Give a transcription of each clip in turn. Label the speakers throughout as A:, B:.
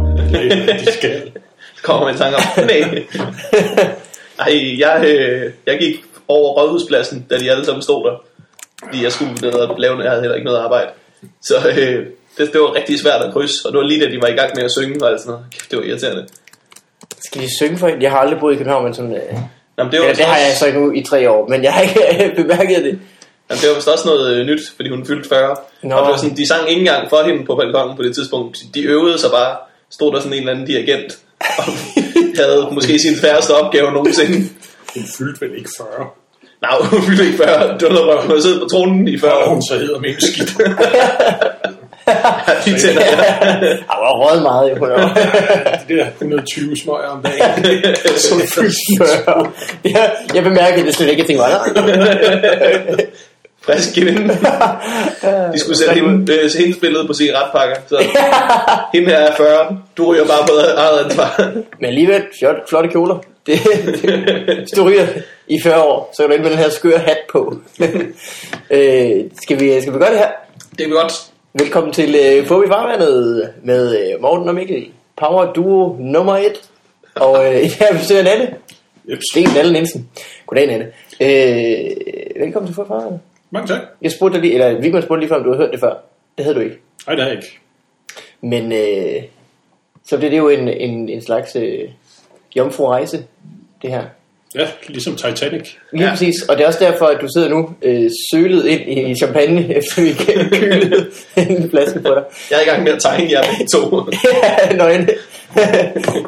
A: øh, de skal. Kommer man i tanke om, nej. Ej, jeg, øh, jeg gik over Rådhuspladsen, da de alle sammen stod der. Fordi jeg skulle ned og lave noget, jeg havde heller ikke noget arbejde. Så øh, det, det, var rigtig svært at krydse, og det var lige da de var i gang med at synge og alt sådan noget. Kæft, det var irriterende.
B: Skal de synge for hende? Jeg har aldrig boet i København, men sådan... Øh,
A: Jamen, det var
B: eller,
A: vist
B: det har
A: også-
B: jeg så ikke nu i tre år, men jeg har ikke bemærket det.
A: Jamen, det var vist også noget øh, nyt, fordi hun fyldte 40.
B: Nå.
A: Nå. Og det var sådan, de sang ikke engang for hende på balkongen på det tidspunkt. De øvede sig bare. Stod der sådan en eller anden dirigent, og havde måske sin færreste opgave nogensinde.
C: Hun fyldte vel ikke 40.
A: Nej, hun fyldte ikke 40. Det var noget, hvor hun havde siddet på tronen i 40
C: Og
A: år.
C: hun så hedder mennesket.
A: De tænder jeg.
B: Ej, hvor røget meget, jeg kunne
C: De der 120 smøger om dagen. Så hun fyldte
B: jeg, jeg bemærkede det slet ikke, jeg tænkte, "Nå, nej,
A: Frisk kvinde. De skulle sætte hende, øh, hendes billede på cigaretpakker. Så hende her er 40. Du ryger bare på eget ansvar.
B: Men alligevel, fjot, flotte kjoler. Det, det, hvis du ryger i 40 år, så kan du ikke med den her skøre hat på. øh, skal, vi, skal vi gøre det her?
A: Det er godt.
B: Velkommen til øh, Fobi Farvandet med øh, Morten og Mikkel. Power Duo nummer 1. Og øh, i dag besøger Nalle.
C: Jeps.
B: Det er Nalle Nielsen. Goddag, Nalle. Øh, velkommen til Fobi Farvandet.
C: Mange tak.
B: Jeg spurgte dig lige, eller Vigman spurgte lige før, om du havde hørt det før. Det havde du ikke.
C: Nej, det har jeg ikke.
B: Men øh, så bliver det jo en, en, en slags øh, jomfru-rejse, det her.
C: Ja, ligesom Titanic.
B: Lige ja.
A: Ja.
B: præcis, og det er også derfor, at du sidder nu øh, sølet ind i champagne, efter vi kølede en flaske på dig.
A: Jeg er i gang med at tegne jer begge to.
B: Ja, nøgne.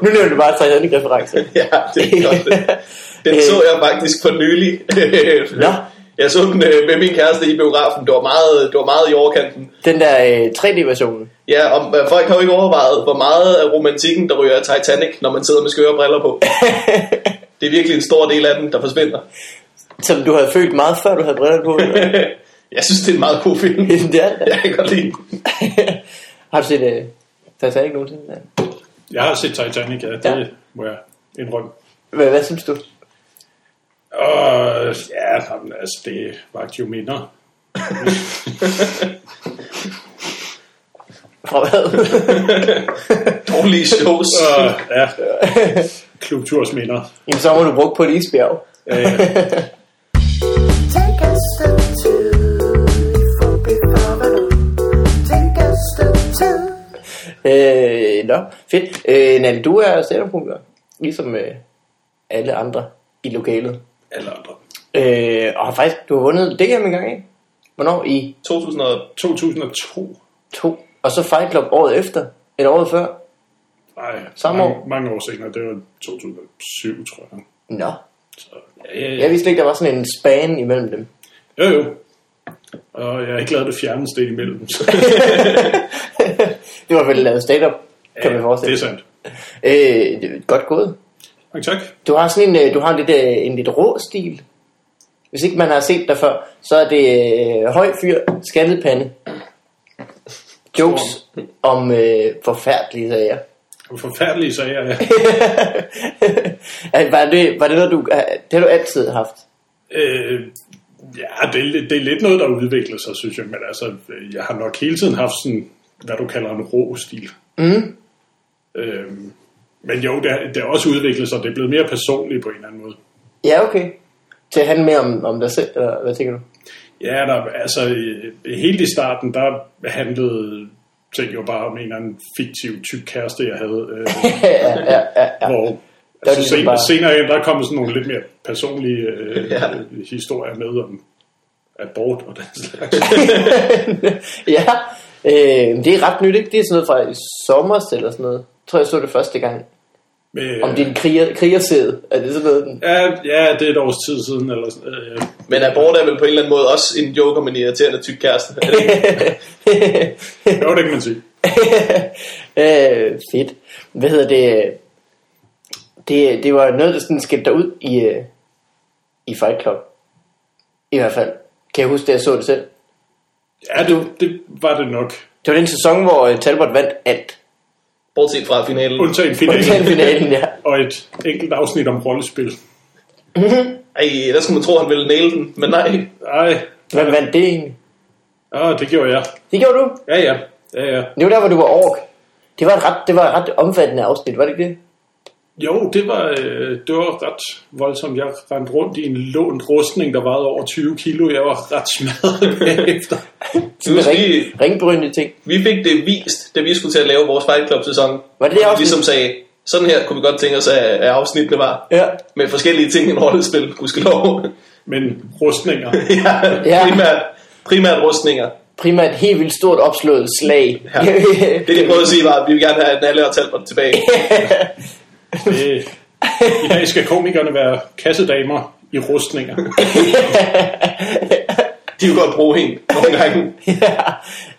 B: nu nævner du bare Titanic referencer.
A: Ja, det er godt. Den så jeg faktisk for nylig.
B: Nå.
A: Jeg så den øh, med min kæreste i biografen. Det var meget, det var meget i overkanten.
B: Den der øh, 3D-version.
A: Ja, og øh, folk har jo ikke overvejet, hvor meget af romantikken, der ryger af Titanic, når man sidder med skøre briller på. Det er virkelig en stor del af den, der forsvinder.
B: Som du havde følt meget før, du havde brillerne på.
A: Jeg synes, det er en meget god film.
B: det er det. da.
A: Jeg kan godt lide den.
B: Har du set øh, Titanic nogensinde? Ja.
C: Jeg har set Titanic, ja. Det
B: Ja.
C: ja. må jeg indrømme.
B: Hvad, hvad synes du?
C: Og ja, jamen, altså, det var jo minder.
B: Fra hvad?
A: Dårlige shows.
C: Og, ja, klubturs minder.
B: Jamen, så må du bruge på et isbjerg.
C: Ja, ja.
D: Take a step two for phenomenal. Take a step two.
B: Øh, nå, fedt. Øh, Nalle, du er stand-up-komiker, ligesom øh, alle andre i lokalet.
C: Alle andre.
B: Øh, og har faktisk, du har vundet det her en gang, ikke? Hvornår? I
A: 2000 og-
C: 2002.
B: to. Og så Fight Club året efter, eller året før.
C: Nej,
B: Samme
C: mange,
B: år.
C: mange år senere. Det var 2007, tror jeg.
B: Nå.
C: Så, ja, ja,
B: Jeg
C: ja.
B: vidste ikke, der var sådan en span imellem dem.
C: Jo, jo. Og jeg er ikke lavet det fjerneste imellem.
B: Det var vel lavet stand-up, kan man
C: det er
B: forestille sig.
C: sandt.
B: Øh, det er godt gået.
C: Mange tak.
B: Du har sådan en, øh, du har en lidt, øh, en lidt rå stil. Hvis ikke man har set dig før, så er det øh, høj fyr, skaldet pande. Jokes om øh, forfærdelige sager.
C: Og forfærdelige sager. Ja.
B: Øh, var, det, var det noget, du, øh, det har du altid haft?
C: Øh, ja, det er, lidt- det er lidt noget, der udvikler sig, synes jeg. Men altså, jeg har nok hele tiden haft sådan, hvad du kalder en rå stil. Mm. Øh, men jo, det, har- det er også udviklet sig. Det er blevet mere personligt på en eller anden måde.
B: Ja, okay. Til at handle mere om, om dig selv, eller hvad tænker du?
C: Ja, der, altså øh, helt i starten, der handlede ting jo bare om en eller anden fiktiv tyk kæreste, jeg havde. Øh,
B: ja, ja, ja, ja.
C: hvor,
B: Der er
C: altså,
B: ligesom
C: sen,
B: bare-
C: bare... Senere hen, der kom sådan nogle lidt mere personlige øh,
A: Ja.
C: ja. historier med om abort og den slags.
B: ja. Øh, det er ret nyt, ikke? Det er sådan noget fra i sommer eller sådan noget. Jeg tror, jeg så det første gang.
C: Med,
B: Om din kriger, krigersæde. Er det sådan noget? den-
C: øh, Ja, ja, det er et års tid siden. Eller sådan, øh, ja.
A: Men abort er vel på en eller anden måde også en joke om en irriterende tyk kæreste. Er det ikke?
C: jo, det kan man sige.
B: øh, fedt. Hvad hedder det? Det, det var noget, der sådan skældte dig ud i, øh, i Fight Club. I hvert fald. Kan jeg huske, da jeg så det selv?
C: Ja, det, det var det nok.
B: Det var den sæson, hvor øh, Talbot vandt alt.
A: Bortset fra finalen.
C: Undtagen
B: Undtagen
C: finalen.
B: finalen, ja.
C: Og et enkelt afsnit om rollespil.
A: Ej, der skulle man tro, han ville næle den, men nej.
C: Ej,
B: Hvem vandt det egentlig?
C: ah, det gjorde jeg.
B: Det gjorde du.
C: Ja, ja. ja, ja.
B: Det var der, hvor du var ork. Det var et ret, det var et ret omfattende afsnit, var det ikke det?
C: Jo, det var, øh, det var ret voldsomt. Jeg rendte rundt i en lånt rustning, der vejede over 20 kilo. Jeg var ret smadret bagefter.
B: Sådan
A: Husk
B: ring,
A: lige-
B: ringbrynende ting.
A: Vi fik det vist, da vi skulle til at lave vores Fight Club-sæson.
B: Var det det
A: Hvor vi
B: afsnit?
A: ligesom sagde, sådan her kunne vi godt tænke os, at, at afsnittene var.
B: Ja.
A: Med forskellige ting i en rollespil, gudskelov.
C: Men rustninger.
A: ja,
B: Ja.
A: Primært, primært rustninger.
B: Primært et helt vildt stort opslået slag.
A: Ja. Det, de prøvede at sige, var, at vi vil gerne have Nalle og Talbot tilbage.
C: Øh, I dag skal komikerne være kassedamer i rustninger.
A: De vil godt bruge hende nogle gange.
B: ja.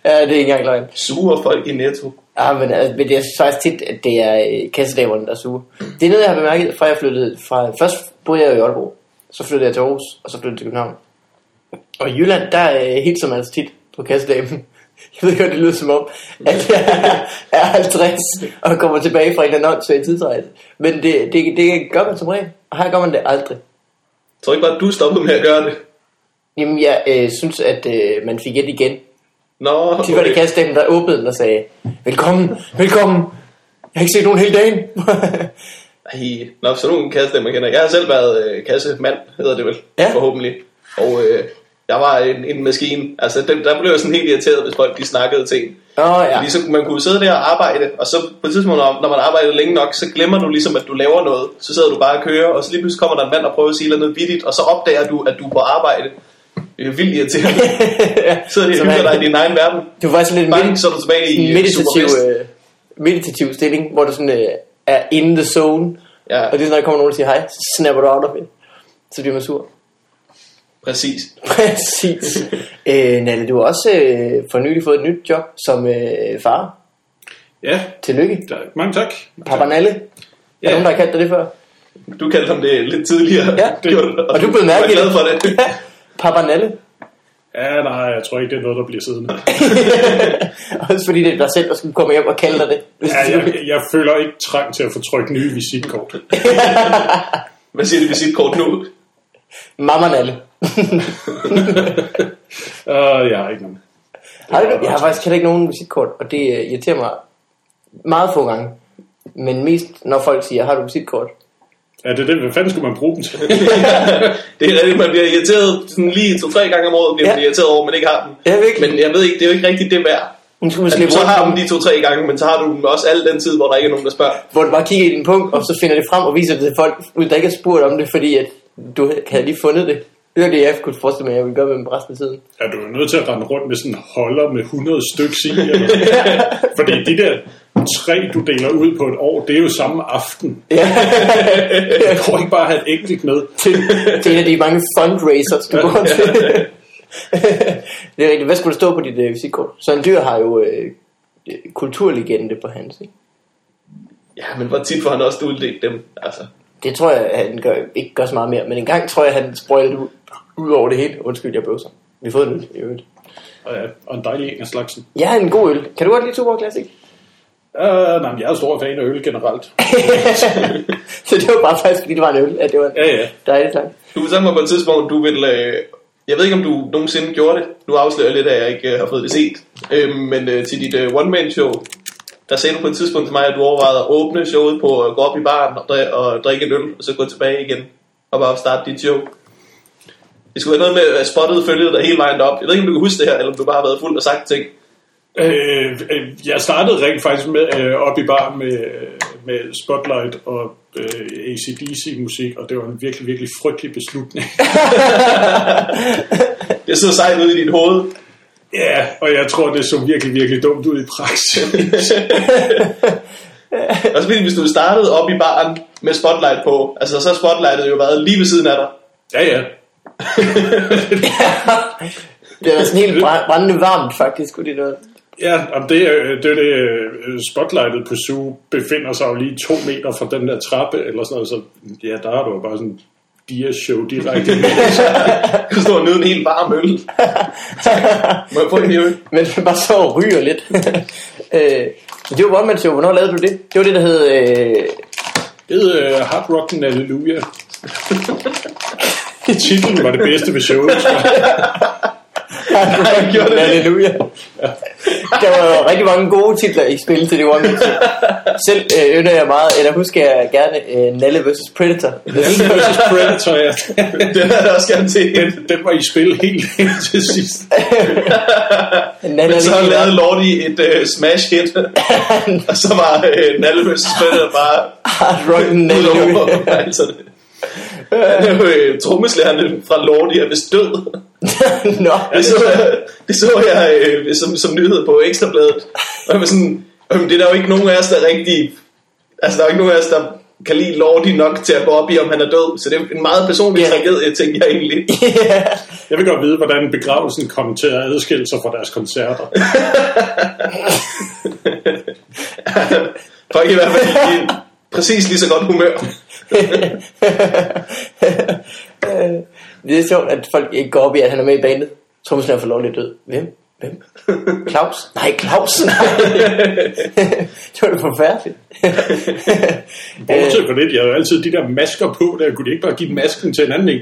B: ja, det er ikke engang løgn.
A: Sure folk i Netto.
B: Ah, men, altså, men det er faktisk tit, at det er øh, kassedamerne, der suger. Det er noget, jeg har bemærket, fra jeg flyttede fra... Først boede jeg jo i Aalborg, så flyttede jeg til Aarhus, og så flyttede jeg til København. Og i Jylland, der øh, hilser man altså tit på kassedamen. Jeg ved godt, det lyder som om, at jeg er 50 og kommer tilbage fra en annonce i tidsrejse. Men det, det, det gør man som regel, og her gør man det aldrig.
A: Jeg tror ikke bare, du stoppede med at gøre det.
B: Jamen, jeg øh, synes, at øh, man fik et igen.
A: Nå,
B: De var det kassedamen, der åbnede den og sagde, velkommen, velkommen. Jeg har ikke set nogen hele dagen.
A: Ej, nå, sådan nogle kassedæmmer kender jeg. Jeg har selv været øh, kassemand, hedder det vel,
B: Ja.
A: forhåbentlig. Og øh, jeg var en, en maskine. Altså, dem, der blev jeg sådan helt irriteret, hvis folk de snakkede ting.
B: Åh oh, ja.
A: Ja. Fordi så, man kunne sidde der og arbejde, og så på et tidspunkt, når når man arbejder længe nok, så glemmer du ligesom, at du laver noget. Så sidder du bare og kører, og så lige pludselig kommer der en mand og prøver at sige noget vittigt, og så opdager du, at du er på arbejde. Det er vildt irriterende. Sidder der
B: Så
A: og hygger
B: man-
A: dig i din egen verden.
B: Du var sådan lidt
A: Bang,
B: med,
A: så er du tilbage i
B: en
A: øh,
B: meditativ,
A: Superfest.
B: øh, meditativ stilling, hvor du sådan, øh, er in the zone.
A: Ja,
B: Og det er, når der kommer nogen og siger hej, så snapper du out of it. Så bliver man sur.
A: præcis.
B: Præcis. øh, Nalle, du har også øh, for nylig fået et nyt job som øh, far.
C: Ja,
B: Tillykke.
C: der, mange tak.
B: Papa Nalle. Er
A: Ja.
B: der nogen, der har kaldt dig det før?
A: Du kaldte ham det lidt tidligere.
B: Ja.
A: det gjorde du.
B: Og du blev mærkelig.
A: Jeg er glad for det.
B: Papa Nalle.
C: Ja, nej, jeg tror ikke, det er noget, der bliver siddende.
B: også fordi det er dig selv, der skulle komme hjem og kalde dig det. Hvis
C: Ja,
B: du-
C: jeg, jeg føler ikke trang til at få trykt nye visitkort.
A: Hvad siger det visitkort nu?
B: Mamma Nalle.
C: Uh, jeg har ikke nogen.
B: Har du, jeg har faktisk heller ikke nogen visitkort, og det øh, irriterer mig meget få gange. Men mest, når folk siger, har du visitkort?
C: Ja, det er det. Hvad fanden skulle man bruge dem til?
A: Det er rigtigt, man bliver irriteret sådan lige to-tre gange om året, bliver
B: Ja.
A: man irriteret over, at man ikke har dem.
B: Ja, virkelig.
A: Men jeg ved ikke, det er jo ikke rigtigt det værd.
B: Nu skal man
A: At du
B: slippe
A: så
B: rundt
A: har
B: om,
A: dem de to-tre gange, men så har du dem også al den tid, hvor der ikke er nogen, der spørger.
B: hvor du bare kigger i den punkt, og så finder det frem og viser det til folk, uden der ikke er spurgt om det, fordi at du havde lige fundet det. Det var det, jeg kunne forestille mig, at jeg ville gøre med dem resten af tiden.
C: Ja, du er nødt til at rende rundt med sådan en holder med 100 stykker i. Eller sådan. Fordi de der tre, du deler ud på et år, det er jo samme aften.
B: Ja,
C: Jeg kunne ikke bare have et enkelt med.
B: til, til en af de mange fundraisers, du går til. det er rigtigt. Hvad skulle der stå på dit øh, visitkort? Sådan en dyr har jo øh, kulturlegende på hans, ikke?
A: Ja, men hvor tit får han også uddelt dem? Altså,
B: Det tror jeg, han gør, ikke gør så meget mere. Men en gang tror jeg, han sprøjtede ud, ud over det hele. Undskyld, jeg bøvser. Vi har fået en øl, i øvrigt.
C: Og, ja, og en dejlig en af slagsen.
B: Jeg har en god øl. Kan du godt lide Tuborg Classic?
C: Uh, nej, men jeg er stor fan af øl generelt.
B: så det var bare faktisk, fordi det var en øl, at det var en
C: Ja, ja.
B: dejlig sang.
A: du fortalte mig på et tidspunkt, du vil... Øh, jeg ved ikke, om du nogensinde gjorde det. Nu afslører jeg lidt, at jeg ikke øh, har fået det set. Øh, men øh, til dit øh, one-man-show, der sagde du på et tidspunkt til mig, at du overvejede at åbne showet på at gå op i baren og, dri- og drikke en øl, og så gå tilbage igen og bare starte dit show. Det skulle være noget med, at spottet følgede dig hele vejen op. Jeg ved ikke, om du kan huske det her, eller om du bare har været fuld og sagt ting.
C: Øh, øh, jeg startede rent faktisk med øh, op i bar med, med Spotlight og øh, ACDC-musik, og det var en virkelig, virkelig frygtelig beslutning.
A: Det sidder sejt ude i dit hoved.
C: Ja, yeah, og jeg tror, det så virkelig, virkelig dumt ud i praksis.
A: Og så fordi hvis du startede op i baren med spotlight på, altså så har spotlightet jo været lige ved siden af dig.
C: ja, ja.
B: Det var sådan helt bræ- brændende varmt, faktisk. Skulle det noget.
C: Ja, om det, er- det er det. øh, Spotlightet på Zoo befinder sig jo lige to meter fra den der trappe, eller sådan noget, så ja, der er du jo bare sådan en dia-show direkte.
A: Du står og nyder en helt varm øl. Tak. Må jeg få en øl?
B: Men det bare så og ryger lidt. øh, det var One Man Show. Hvornår lavede du det? Det var det, der hed... Øh,
C: Det hed uh, Hard Rockin' Alleluia. Titlen var det bedste ved showet. tror jeg.
A: Nej, jeg gjorde det.
B: Halleluja. der var jo rigtig mange gode titler i spil til det One Piece. Selv øh, ynder jeg meget, eller husker jeg gerne øh, Nalle vs. Predator.
C: Alien vs. Predator, ja.
A: Det er der også gerne til.
C: Den, den var i spil helt til sidst.
B: Nalle
A: Men så
B: er lige-
A: lavede Lordi et øh, smash hit, og så var øh, Nalle vs. Predator bare
B: Hard Rock Nalle.
A: ud over altså det. Han er jo øh, trommeslærerne fra Lordi er vist død.
B: Nå,
A: Det så, jeg- det så jeg øh, som, som nyhed på Ekstrabladet. Og jeg var sådan, øh, det er der jo ikke nogen af os, der rigtig... Altså, der er jo ikke nogen af os, der kan lide Lordi nok til at gå op i, om han er død. Så det er en meget personlig
B: Ja.
A: yeah. tragedie, tænker jeg egentlig.
C: Jeg vil godt vide, hvordan begravelsen kom til at adskille sig fra deres koncerter.
A: Folk er i hvert fald i præcis lige så godt humør.
B: Øh, det er sjovt, at folk ikke går op i, at han er med i bandet. Tromsen er for lovlig død. Hvem? Hvem? Claus? Nej, Claus, nej. det var da forfærdeligt.
C: Bortset fra det, de havde jo altid de der masker på der. Kunne de ikke bare give masken til en anden en?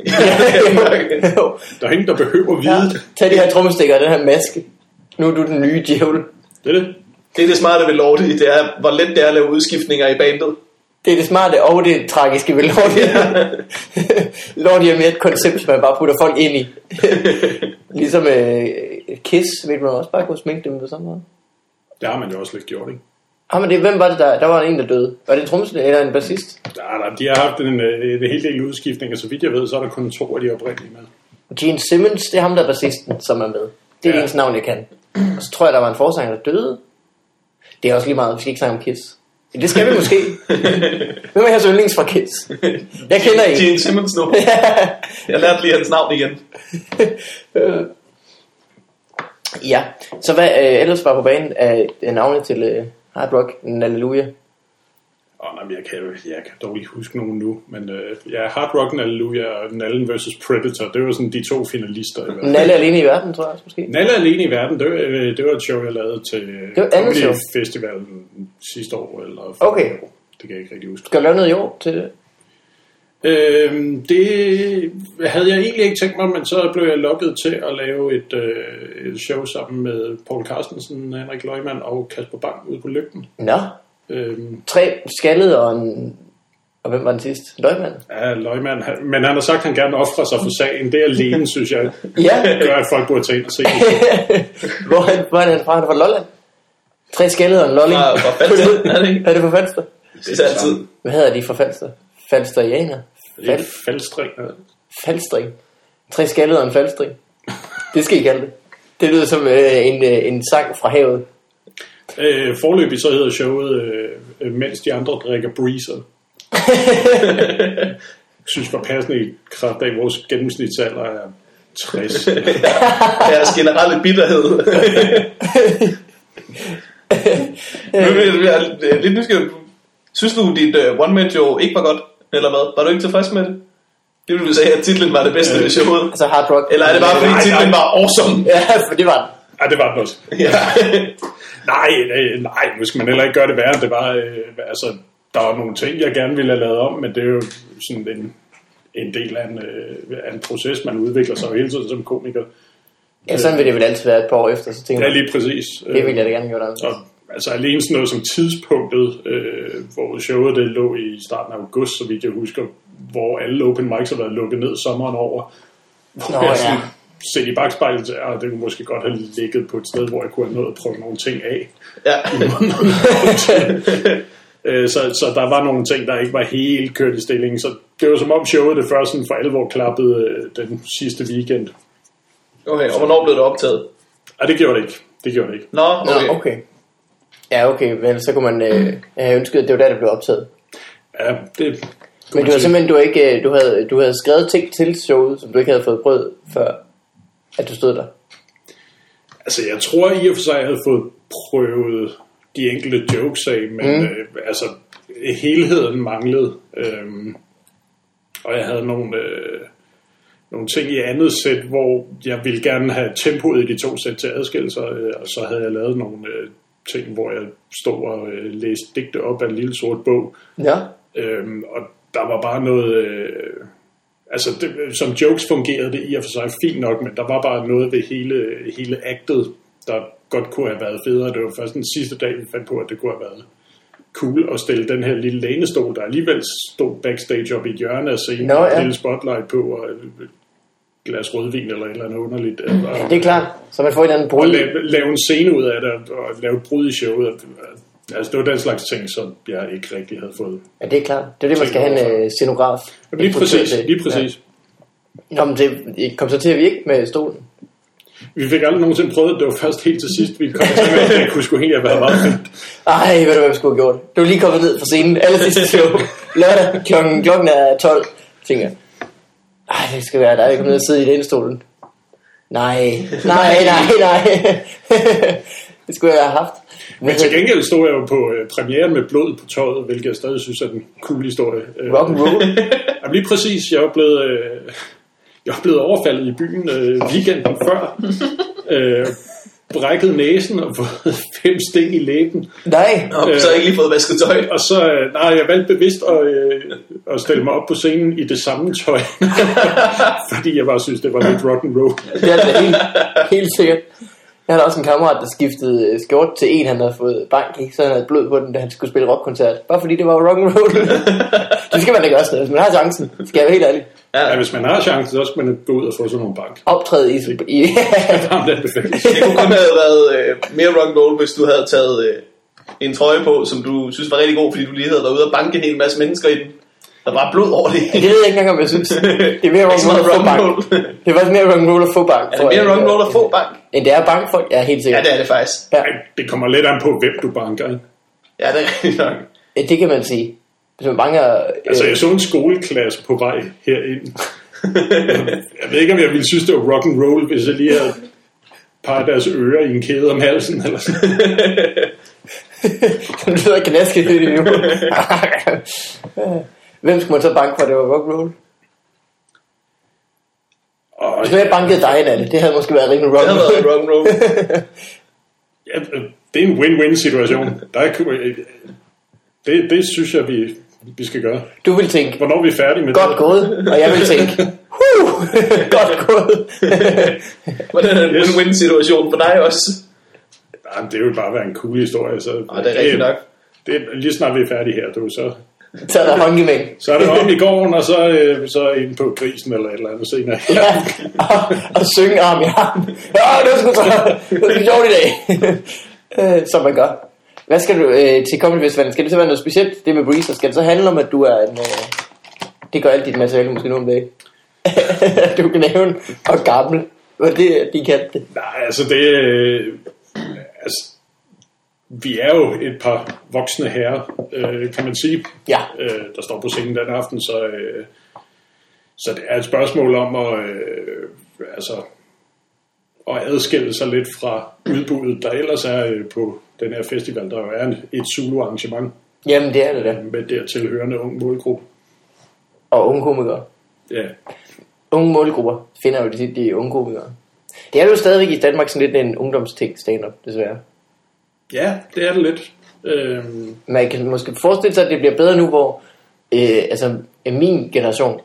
B: Øh, jo, jo.
C: Der er ingen, der behøver at
B: Ja,
C: vide det.
B: tag de her trommestikker og den her maske. Nu er du den nye djævel.
C: Det er det.
A: Det er det smarte ved Lordi, det er, hvor let det er at lave udskiftninger i bandet.
B: Det er det smarte og det tragiske ved Lordi. Lordi er mere et koncept, man bare putter folk ind i. ligesom øh, Kiss, vil man også bare kunne sminke dem på samme måde.
C: Det har man jo også lidt gjort, ikke?
B: Ah, men det, hvem var det der? Der var en, der døde. Var det en trommeslager eller en bassist?
C: Nej, nej, de har haft en, øh, en hel del udskiftninger. Så vidt jeg ved, så er der kun to af de oprindelige med.
B: Gene Simmons, det er ham, der er bassisten, som er med. Det er ja.
C: Ja.
B: det eneste navn, jeg kan. Og så tror jeg, der var en forsanger, der døde. Det er også lige meget, vi skal ikke snakke om Kiss. Men Det skal vi måske. Hvem er jeres yndlings fra Kiss? Jeg kender en.
A: Gene Simmons nu. Jeg lærte lige hans navn igen.
B: Øh. ja, så hvad øh, ellers var på banen af af navne til øh, Hard Rock, Halleluja?
C: Åh, nej, men jeg kan, jo- jeg kan dog ikke huske nogen nu. Men øh, ja, Hard Rock Alleluia og Nallen vs. Predator, det var sådan de to finalister. I hvert fald.
B: Nalle alene i verden, tror jeg også måske.
C: Nalle Alene i Verden, det var, øh, det var et show, jeg lavede til øh,
B: Det var et andet show.
C: Comedy Festivalen sidste år. Eller for
B: Okay.
C: år. Det kan jeg ikke rigtig huske.
B: Skal du lave noget i år til det?
C: Øhm, det havde jeg egentlig ikke tænkt mig, men så blev jeg lukket til at lave et, øh, et show sammen med Paul Carstensen, Henrik Løgman og Kasper Bang ude på Lygten.
B: Nå,
C: Øhm,
B: tre skaldede og en... Og hvem var den sidste? Løgmand?
C: ja, Løgman, han, men han har sagt, at han gerne offrer sig for sagen. Det alene, synes jeg,
B: Ja.
C: gør, at folk burde tage ind og se det.
B: hvor, er han, hvor er han fra? Han er fra Lolland. Tre skaldede og en lolling.
A: Fra- fra Falster, er det ikke?
B: er det fra Falster?
A: Det er altid.
B: Hvad hedder de fra Falster? Falsterianer? Fal,
C: Fal- Faldstræk.
B: falstring. Tre skaldede og en falstring. Det skal I kalde det. Det lyder som øh, en, øh, en sang fra havet.
C: Øh, forløbig så hedder showet, øh, øh, mens de andre drikker breezer. synes var passende i kraft af at vores gennemsnitsalder er 60.
A: Deres generelle bitterhed. Men jeg er lidt nysgerrig. Synes du, dit uh, one-man show ikke var godt? Eller hvad? Var du ikke tilfreds med det? Det ville du sige, at titlen var det bedste ved showet.
B: Altså hard rock.
A: Eller er det bare, fordi
C: Øh. Nej, nej.
A: titlen var awesome?
B: Ja, for det var den.
C: Ja, det var den også.
A: Ja.
C: Nej, øh, nej, nu skal man heller ikke gøre det værre. Det var, øh, altså, der var nogle ting, jeg gerne ville have lavet om, men det er jo sådan en, en del af en, øh, af en proces, man udvikler sig jo hele tiden som komiker.
B: Ja, sådan vil det vel altid være et par år efter, så tænker
C: Ja,
B: jeg,
C: lige præcis.
B: det ville jeg da gerne gøre det.
C: Og, altså alene sådan noget som tidspunktet, øh, hvor showet det lå i starten af august, så vidt jeg husker, hvor alle open mics har været lukket ned sommeren over. Hvor
B: Nå,
C: jeg
B: ja.
C: sådan set i bagspejlet, at det kunne måske godt have ligget på et sted, hvor jeg kunne have nået at prøve nogle ting af.
A: ja.
C: Øh, så, så der var nogle ting, der ikke var helt kørt i stillingen. Så det var som om showet det først sådan for alvor klappede øh, den sidste weekend.
A: Okay, og hvornår blev det optaget?
C: Og det gjorde det ikke. Det gjorde det ikke.
A: Nå, okay.
B: Nå, okay. Ja, okay, men så kunne man øh, have ønsket, at det var der, det blev optaget.
C: Ja, det,
B: Men det var simpelthen, du, ikke, øh, du, havde, du havde skrevet ting til showet, som du ikke havde fået brød, før at du stod der.
C: Altså, jeg tror i og for sig, jeg havde fået prøvet de enkelte jokes af, men mm. øh, altså, helheden manglede. Øhm, og jeg havde nogle, øh, nogle ting i andet sæt, hvor jeg ville gerne have tempoet i de to sæt til at adskille sig, øh, og så havde jeg lavet nogle øh, ting, hvor jeg stod og øh, læste digte op af en lille sort bog,
B: Ja.
C: Øhm, og der var bare noget... Øh, altså, det, som jokes fungerede det i og for sig fint nok, men der var bare noget ved hele, hele actet, der godt kunne have været federe. Det var først den sidste dag, vi fandt på, at det kunne have været cool at stille den her lille lænestol, der alligevel stod backstage oppe i hjørnet af scenen,
B: Nå,
C: no, ja.
B: ja.
C: en lille spotlight på, og et glas rødvin eller et eller andet underligt. Og,
B: Det er klart, så man får et eller andet
C: og
B: brud.
C: lave, lave en scene ud af det, og lave et brud i showet. Og, altså, det var den slags ting, som jeg ikke rigtig havde fået.
B: Ja, det er klart. Det er det, man skal have en øh, scenograf.
C: Lige præcis, lige
B: Ja.
C: præcis.
B: Nå, men det kom så til at virke med stolen.
C: Vi fik aldrig nogensinde prøvet, det. det var først helt til sidst, vi kom til, at det kunne sgu egentlig have været meget fedt.
B: Ej, ved du, hvad vi skulle have gjort? Du er lige kommet ned fra scenen. Aller sidste show. Lørdag klokken, klokken er 12. Tænker, jeg, ej, det skal være dig. Jeg kommer ned og sidde i lænestolen. Nej, nej, nej, nej. det skulle jeg have haft.
C: Men til gengæld stod jeg jo på øh, premieren med blod på tøjet, hvilket jeg stadig synes er en cool historie. Øh,
B: Rock and roll.
C: Jamen lige præcis, jeg er blevet, øh, jeg er blevet overfaldet i byen øh, weekenden før. Øh, brækket næsen og fået fem sting i læben.
B: Nej.
A: Nå, øh, så har jeg ikke lige fået vasket tøj.
C: Og så, øh, nej, jeg valgte bevidst at, øh, at stille mig op på scenen i det samme tøj, fordi jeg bare synes, det var lidt rock and roll.
B: Det er altså helt, helt sikkert. Jeg havde også en kammerat, der skiftede øh, skjort til en, han havde fået bank i, så han havde blod på den, da han skulle spille rockkoncert. Bare fordi det var rock and roll. det skal man da gøre, hvis man har chancen. Skal jeg være helt ærlig.
C: Ja, hvis man har chancen, så skal man gå ud og få sådan nogle bank.
B: Optræde i... i
C: Jamen, det anbefales.
A: Det kunne kun have været øh, mere rock and roll, hvis du havde taget øh, en trøje på, som du synes var rigtig god, fordi du lige havde været ude og banke en hel masse mennesker i den. Der var blod over det.
B: det ved jeg ikke engang, om jeg synes. Det er mere rock
A: Ikke så
B: and roll
A: meget
B: at
A: rock and
B: få bank.
A: roll.
B: Det er faktisk mere rock and roll at få bank.
A: Er det mere rock and roll at få bank?
B: End det er bank folk, ja, helt
A: Ja,
B: sikkert.
A: det er det faktisk.
B: Ja,
C: Ej, det kommer lidt an på, hvem du banker. ikke?
A: Ja, det er rigtigt nok.
B: det, det kan man sige. Hvis man banker... Øh,
C: Altså, jeg så en skoleklasse på vej herind. jeg ved ikke, om jeg ville synes, det var rock and roll, hvis jeg lige havde par deres ører i en kæde om halsen. Eller sådan.
B: Du sidder og knasker lidt i nu. Hvem skulle man så banke for, det var rock'n'roll?
C: Og
B: Hvis nu jeg bankede dig, Nalle, det havde måske været rimelig
A: Det havde været
B: rock'n'roll.
A: rock and roll.
C: ja, det er en win-win situation. Der er, ku- det, det synes jeg, vi, vi skal gøre.
B: Du ville tænke,
C: Hvornår er vi færdige med
B: godt
C: det?
B: gået, og jeg ville tænke, huh, godt gået.
A: Hvordan er en win-win situation for dig også?
C: Jamen, det vil bare være en cool historie. Så
A: Og det er rigtigt nok.
C: Det, er- lige snart vi er færdige her, du, så,
B: så er der håndgemæng.
C: så er det om i gården, og så, øh, så ind på grisen eller et eller andet senere.
B: Ja, og, og synge arm i arm. Ja, det var sgu så, det var sgu sjovt i dag. Øh, Som man gør. Hvad skal du øh, til Comedy Festivalen? Skal det så være noget specielt, det med Breezer? Skal det så handle om, at du er en... Øh, det gør alt dit materiale måske nu om dagen. At du kan nævne og gammel. Var det, de kaldte det?
C: Nej, altså det... øh, Altså, vi er jo et par voksne herrer, øh, kan man sige,
B: Ja.
C: øh, der står på scenen den aften, så, øh, så det er et spørgsmål om at, øh, altså, at adskille sig lidt fra udbuddet, der ellers er øh, på den her festival, der jo er en- et solo-arrangement
B: Jamen, det er det da.
C: med dertil hørende ung målgruppe.
B: Og unge komikere.
C: Ja,
B: Unge målgrupper finder jo tit de unge komikere. Det er jo stadigvæk i Danmark sådan lidt en ungdomsting stand-up, desværre.
C: ja det er det lidt. Øh,
B: man kan måske forestille sig, at det bliver bedre nu, hvor øh, altså, min generation,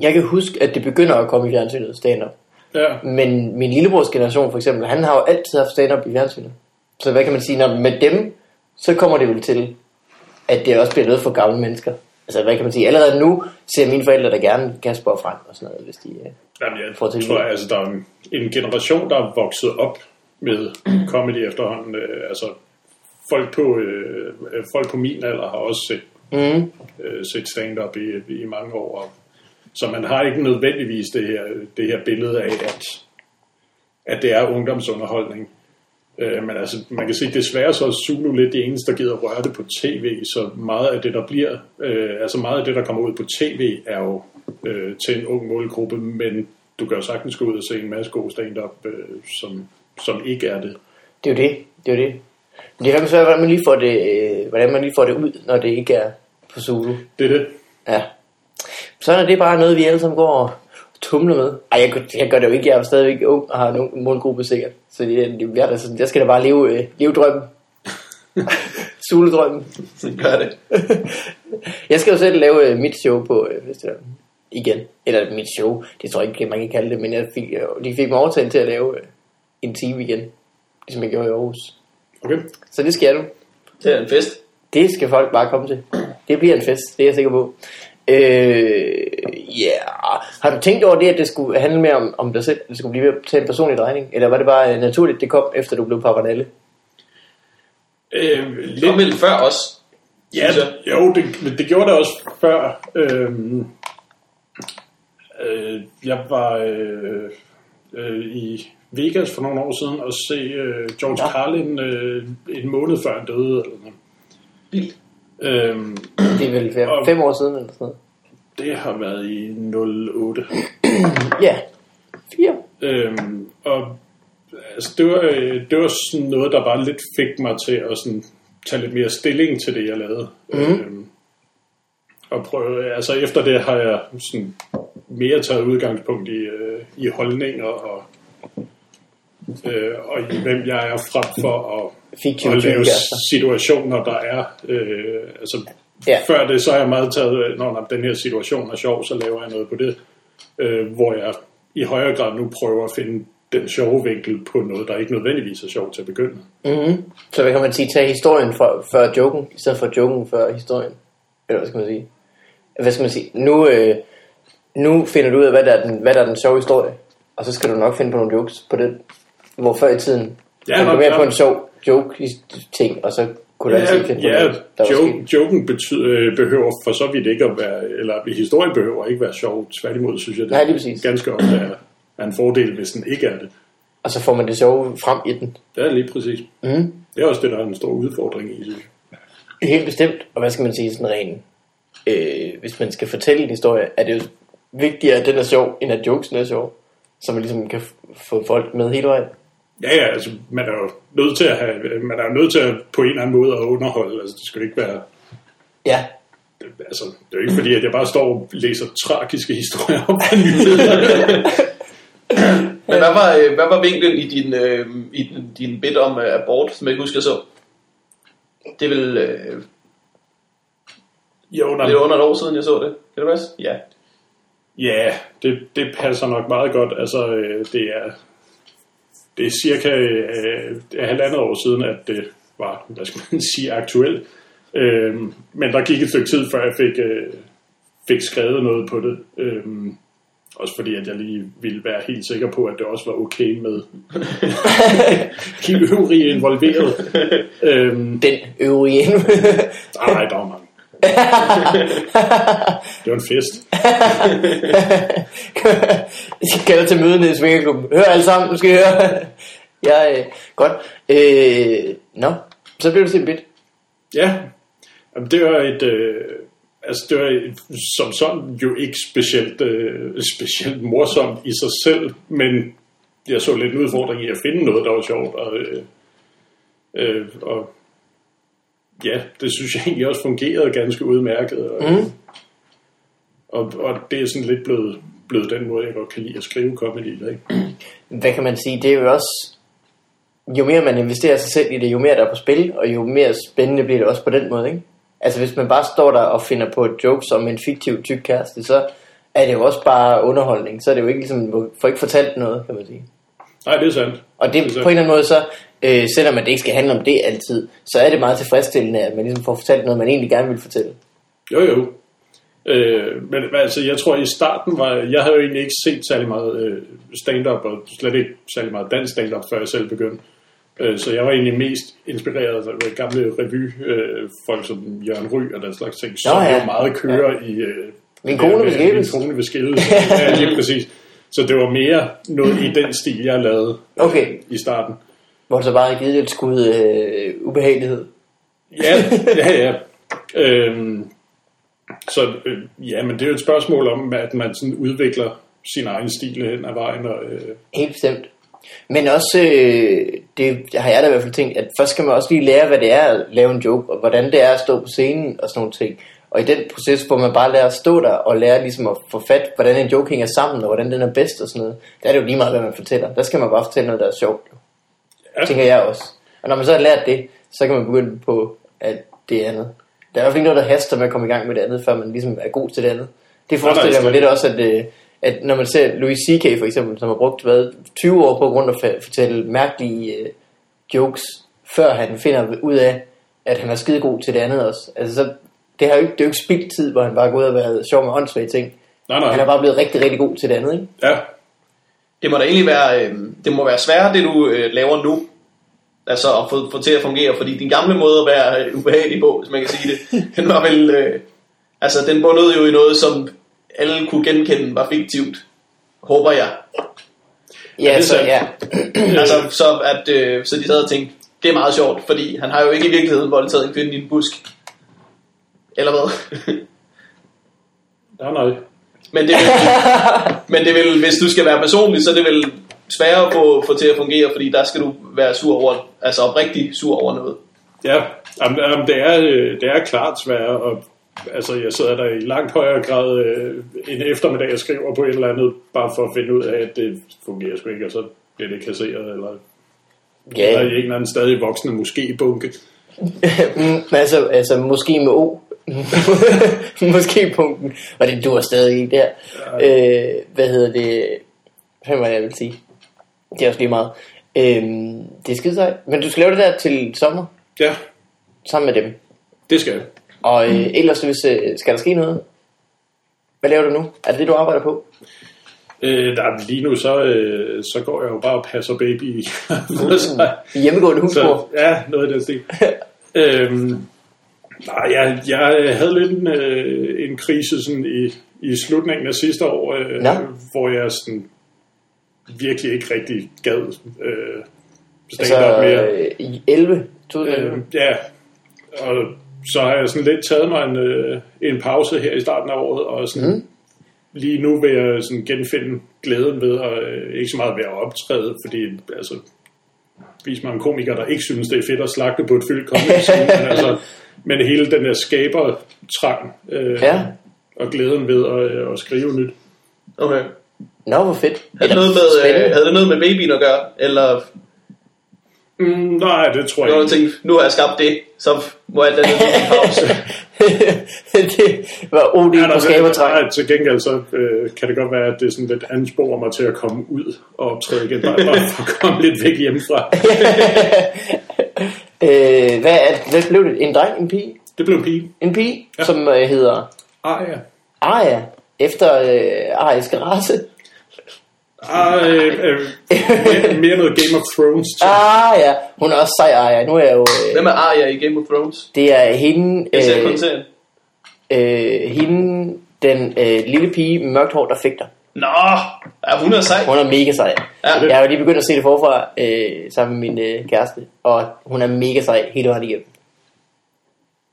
B: jeg kan huske, at det begynder at komme i fjernsynet, stand-up.
C: ja.
B: Men min lillebrors generation for eksempel, han har jo altid haft stand-up i fjernsynet. Så hvad kan man sige, når med dem, så kommer det vel til, at det også bliver noget for gamle mennesker. Altså hvad kan man sige, allerede nu ser mine forældre der gerne Kasper og Frank og sådan noget, hvis de... Øh.
C: Jamen, jeg
B: Prøv at tænke
C: tror,
B: lidt.
C: altså, der er en, en generation, der er vokset op med comedy efterhånden. Øh, altså, folk på, øh, øh, folk på min alder har også set,
B: Mm.
C: øh, set stand-up i, i mange år. Og, så man har ikke nødvendigvis det her, det her billede af, at, at det er ungdomsunderholdning. Øh, men altså, man kan sige, desværre så er Zulu lidt de eneste, der gider røre det på tv, så meget af det, der bliver, øh, altså meget af det, der kommer ud på tv, er jo øh, til en ung målgruppe, men du kan jo sagtens gå ud og se en masse gode stand-up, øh, som, som ikke er det.
B: Det er jo det, det er jo det. Men det er fandme svært, hvordan man lige får det, øh, hvordan man lige får det ud, når det ikke er på Zulu.
C: Det er det.
B: Ja. Sådan er det bare noget, vi alle sammen går og tumler med. Ej, jeg, gør- jeg gør det jo ikke. Jeg er jo stadigvæk ung og har en ung målgruppe sikkert. Så det, det- jeg, er da sådan, jeg skal da bare leve, øh, leve drømmen. Suledrømmen.
A: Sådan gør det.
B: jeg skal jo selv lave øh, mit show på øh, festivalen. Igen. Eller mit show. Det tror jeg ikke, man kan kalde det. Men jeg fik, jeg, de fik mig overtalt til at lave øh, en time igen. ligesom jeg gjorde i Aarhus.
C: Okay.
B: Så det skal jeg nu.
A: Det er en fest.
B: Det skal folk bare komme til. Det bliver en fest, det er jeg sikker på. Øh, yeah. Har du tænkt over det, at det skulle handle mere om, om dig selv? Det skulle blive mere til en personlig drejning? Eller var det bare øh, naturligt, det kom efter du blev papanalle?
C: Øh,
A: Det var
C: lidt,
A: vel før os.
C: ja,
A: synes jeg.
C: jo, det, men det gjorde det også før. Øhm, øh, jeg var øh, øh, i Vegas for nogle år siden og se øh, George
B: Nå.
C: Carlin øh, en måned før han døde. Eller noget.
A: Vildt.
C: Øhm,
B: Det er vel fem,
C: Om-
B: fem år siden eller sådan noget.
C: det har været i 08.
B: Ja, fire.
C: Øhm, og altså, det, var, øh, det var sådan noget, der bare lidt fik mig til at sådan, tage lidt mere stilling til det, jeg lavede. Mm. Øhm, og prøve, altså efter det har jeg sådan mere taget udgangspunkt i, øh, i holdninger og, øh, og i hvem jeg er frem for at,
B: Fiktive
C: at lave
B: typekærester.
C: situationer, der er. Øh, altså,
B: Ja.
C: ja. Før det, så har jeg meget taget, øh, når den her situation er sjov, så laver jeg noget på det øh, hvor jeg i højere grad nu prøver at finde den sjove vinkel på noget, der ikke nødvendigvis er sjovt til at begynde.
B: Mm-hmm. Så hvad kan man sige? Tag historien for, før joken, i stedet for joken før historien. Eller hvad skal man sige? Hvad skal man sige? Nu, øh, nu finder du ud af, hvad der, er den, hvad der er den sjove historie. Og så skal du nok finde på nogle jokes på det. Hvor før i tiden,
C: Ja,
B: ja, man
C: nok,
B: kom mere
C: ja.
B: på en sjov joke-ting, og så kunne du altid finde på
C: ja
B: noget, der var
C: joke,
B: sket.
C: joken betyder, øh, behøver for så vidt ikke at være, eller historien behøver ikke være sjov. Tværtimod synes jeg, det
B: Nej, lige præcis.
C: ganske ofte er, er en fordel, hvis den ikke er det.
B: Og så får man det sjove frem i den.
C: Det er lige præcis.
B: Mm.
C: Det er også det, der er en stor udfordring i, synes jeg.
B: Helt bestemt. Og hvad skal man sige sådan ren? Øh, hvis man skal fortælle en historie, er det jo vigtigere, at den er sjov, end at jokesen er sjov. Så man ligesom kan f- få folk med hele vejen.
C: Ja, ja, altså, man er jo nødt til at have, man er jo nødt til at, på en eller anden måde at underholde. Altså, det skal ikke være
B: Ja.
C: altså, det er jo ikke fordi, at jeg bare står og læser tragiske historier op på nyheder.
A: Men hvad var, øh, hvad var vinklen i din, øh, i din, din bid om øh, abort, som jeg ikke husker jeg så? Det er vel øh,
C: jo, nej,
A: lidt under et år siden, jeg så det. Kan det passe? Ja.
C: ja, det, det passer nok meget godt. Altså, øh, det er, det er cirka øh, det er halvandet år siden, at det var, hvad skal man sige, aktuelt. Øh, men der gik et stykke tid, før jeg fik, øh, fik skrevet noget på det. Øh, også fordi, at jeg lige ville være helt sikker på, at det også var okay med de øvrige involverede. Øhm,
B: Den øvrige.
C: Nej, der var mange. det var en fest.
B: Jeg kalder til møde nede i Svingerklubben. Hør alle sammen, nu skal I høre. ja, øh, godt. Øh, nå, så blev det til en bit.
C: Ja, Jamen, det var et... Øh, altså, det var et, som sådan jo ikke specielt, øh, specielt morsomt i sig selv, men jeg så lidt en udfordring i at finde noget, der var sjovt, og, øh, øh, og ja, det synes jeg egentlig også fungerede ganske udmærket. Og,
B: Mhm.
C: mm. og, og det er sådan lidt blevet, blevet den måde, jeg godt kan lide at skrive comedy, på, ikke?
B: hvad kan man sige, det er jo også, jo mere man investerer sig selv i det, jo mere der er på spil, og jo mere spændende bliver det også på den måde, ikke? Altså hvis man bare står der og finder på et joke som en fiktiv tyk kæreste, så er det jo også bare underholdning, så er det jo ikke ligesom, får ikke fortalt noget, kan man sige.
C: Nej, det er sandt.
B: Og det,
C: er
B: på en eller anden måde så, øh, selvom at det ikke skal handle om det altid, så er det meget tilfredsstillende, at man ligesom får fortalt noget, man egentlig gerne vil fortælle.
C: Jo, jo. Øh, men men altså, jeg tror i starten var... Jeg havde jo egentlig ikke set særlig meget øh, stand-up, og slet ikke særlig meget dansk stand-up, før jeg selv begyndte. Øh, så jeg var egentlig mest inspireret af gamle revyfolk, øh, folk som Jørgen Ry og den slags ting, som
B: ja.
C: jo meget kører ja. i... Øh,
B: Min kone
C: øh,
B: vil skilles.
C: Min kone vil skilles. ja, lige præcis. Så det var mere noget i den stil, jeg lavede øh,
B: Okay.
C: i starten.
B: Hvor det så bare har givet det et skud øh, ubehagelighed.
C: Ja, ja, ja. Øhm, så øh, ja, men det er jo et spørgsmål om, at man sådan udvikler sin egen stil hen ad vejen. Og, øh,
B: Helt bestemt. Men også, øh, det har jeg da i hvert fald tænkt, at først skal man også lige lære, hvad det er at lave en joke, og hvordan det er at stå på scenen og sådan nogle ting. Og i den proces, hvor man bare lærer at stå der og lærer ligesom at få fat, hvordan en joke hænger sammen, og hvordan den er bedst og sådan noget, der er det jo lige meget, hvad man fortæller. Der skal man bare fortælle noget, der er sjovt. Jo.
C: Ja.
B: Tænker jeg også. Og når man så har lært det, så kan man begynde på at det andet. Der er i hvert fald ikke noget, der haster med at komme i gang med det andet, før man ligesom er god til det andet. Det forestiller jeg mig
C: slet
B: lidt også, at, øh, at når man ser Louis C.K. for eksempel, som har brugt hvad, 20 år på grund af at fa- fortælle mærkelige øh, jokes, før han finder ud af, at han er skide god til det andet også. Altså, så, det, har jo ikke, det er jo ikke spildt tid, hvor han bare går ud og været sjov med håndsvage ting.
C: Nej,
B: Han er
C: nej.
B: bare blevet rigtig, rigtig god til det andet, ikke?
C: Ja,
A: Det må da egentlig være, øh, det må være sværere, det du øh, laver nu, altså at få, få til at fungere, fordi din gamle måde at være øh, ubehagelig på, hvis man kan sige det, den var vel, øh, altså den bundede jo i noget, som alle kunne genkende var fiktivt, håber jeg.
B: Ja,
C: er
B: så,
C: sandt.
B: ja.
A: Altså, så, at, øh, så de sad og tænkte, det er meget sjovt, fordi han har jo ikke i virkeligheden voldtaget en kvinde i en busk. Eller hvad?
C: nej, nej.
A: men, det vil, men det vil, hvis du skal være personlig, så er det vel sværere at få, få til at fungere, fordi der skal du være sur over, altså oprigtig sur over noget.
C: Ja, jamen, jamen, det, er, øh, det er klart svært, og altså, jeg sidder der i langt højere grad øh, en eftermiddag og skriver på et eller andet, bare for at finde ud af, at det fungerer sgu ikke, og så bliver det kasseret, eller,
B: Ja,
C: eller i en eller anden stadig voksende måske-bunke.
B: Mm, altså, altså, måske med O. måske punkten. Og det dur stadig ikke der. Øh, hvad hedder det? Hvad var det, jeg vil sige? Det er også lige meget. Øh, det er skide sejt. Men du skal lave det der til sommer,
C: Ja,
B: sammen med dem.
C: det skal jeg.
B: Og
A: Mm.
B: øh, ellers, hvis, øh, skal der ske noget? Hvad laver du nu? Er det det, du arbejder på?
C: Øh, der, lige nu, så, øh, så går jeg jo bare og passer baby. så,
B: I hjemmegående
C: så,
B: husmor?
C: ja, noget af den stil. øhm, nej, jeg, jeg havde lidt en, øh, en krise sådan i, i slutningen af sidste år, øh,
B: Nå.
C: hvor jeg sådan virkelig ikke rigtig gad øh, stand
B: Så
C: op mere.
B: øh, i 11?
C: Øh,
B: Øh,
C: ja, og så har jeg sådan lidt taget mig en, øh, en pause her i starten af året, og sådan, mm. lige nu vil jeg sådan genfinde glæden ved, og øh, ikke så meget ved at optræde, fordi altså, vis mig en komiker, der ikke synes, det er fedt at slagte på et fyldt comedy scene, men, altså, men hele den der skabertrang, øh,
B: Ja.
C: og glæden ved at, øh, at skrive nyt.
A: Okay.
B: Nå, hvor fedt.
A: Havde, det noget med, øh, havde det noget med babyen at gøre? Eller
C: Mm, nej, det tror jeg
A: når
C: ikke.
A: du tænkte, nu har jeg skabt det, så må alt andet lige en pause.
B: det var OD
C: Ja,
B: på skabertræk.
C: nej, til gengæld så øh, kan det godt være, at det sådan lidt ansporer mig til at komme ud og optræde igen, bare bare for at komme lidt væk hjemmefra.
B: Øh, hvad, er, det- hvad blev det? En dreng? En pige?
C: Det blev en pige.
B: En pige, ja. som øh, hedder
C: Ah, ja.
B: Arya, efter øh, Arias race.
C: Ah, øh, øh, mere, mere noget Game of Thrones. Til.
B: Ah. Arya, hun er også sej Arya. Nu er jeg jo, øh,
A: Hvem er Arya i Game of Thrones?
B: det er hende,
A: Jeg ser kun
B: øh,
A: serien.
B: øh, hende den øh, lille pige med mørkt hår, der fægter.
A: Nå, ja, hun er sej.
B: Hun er mega sej.
A: Ja.
B: Jeg er jo lige begyndt at se det forfra øh, sammen med min øh, kæreste, og hun er mega sej hele vejen igennem.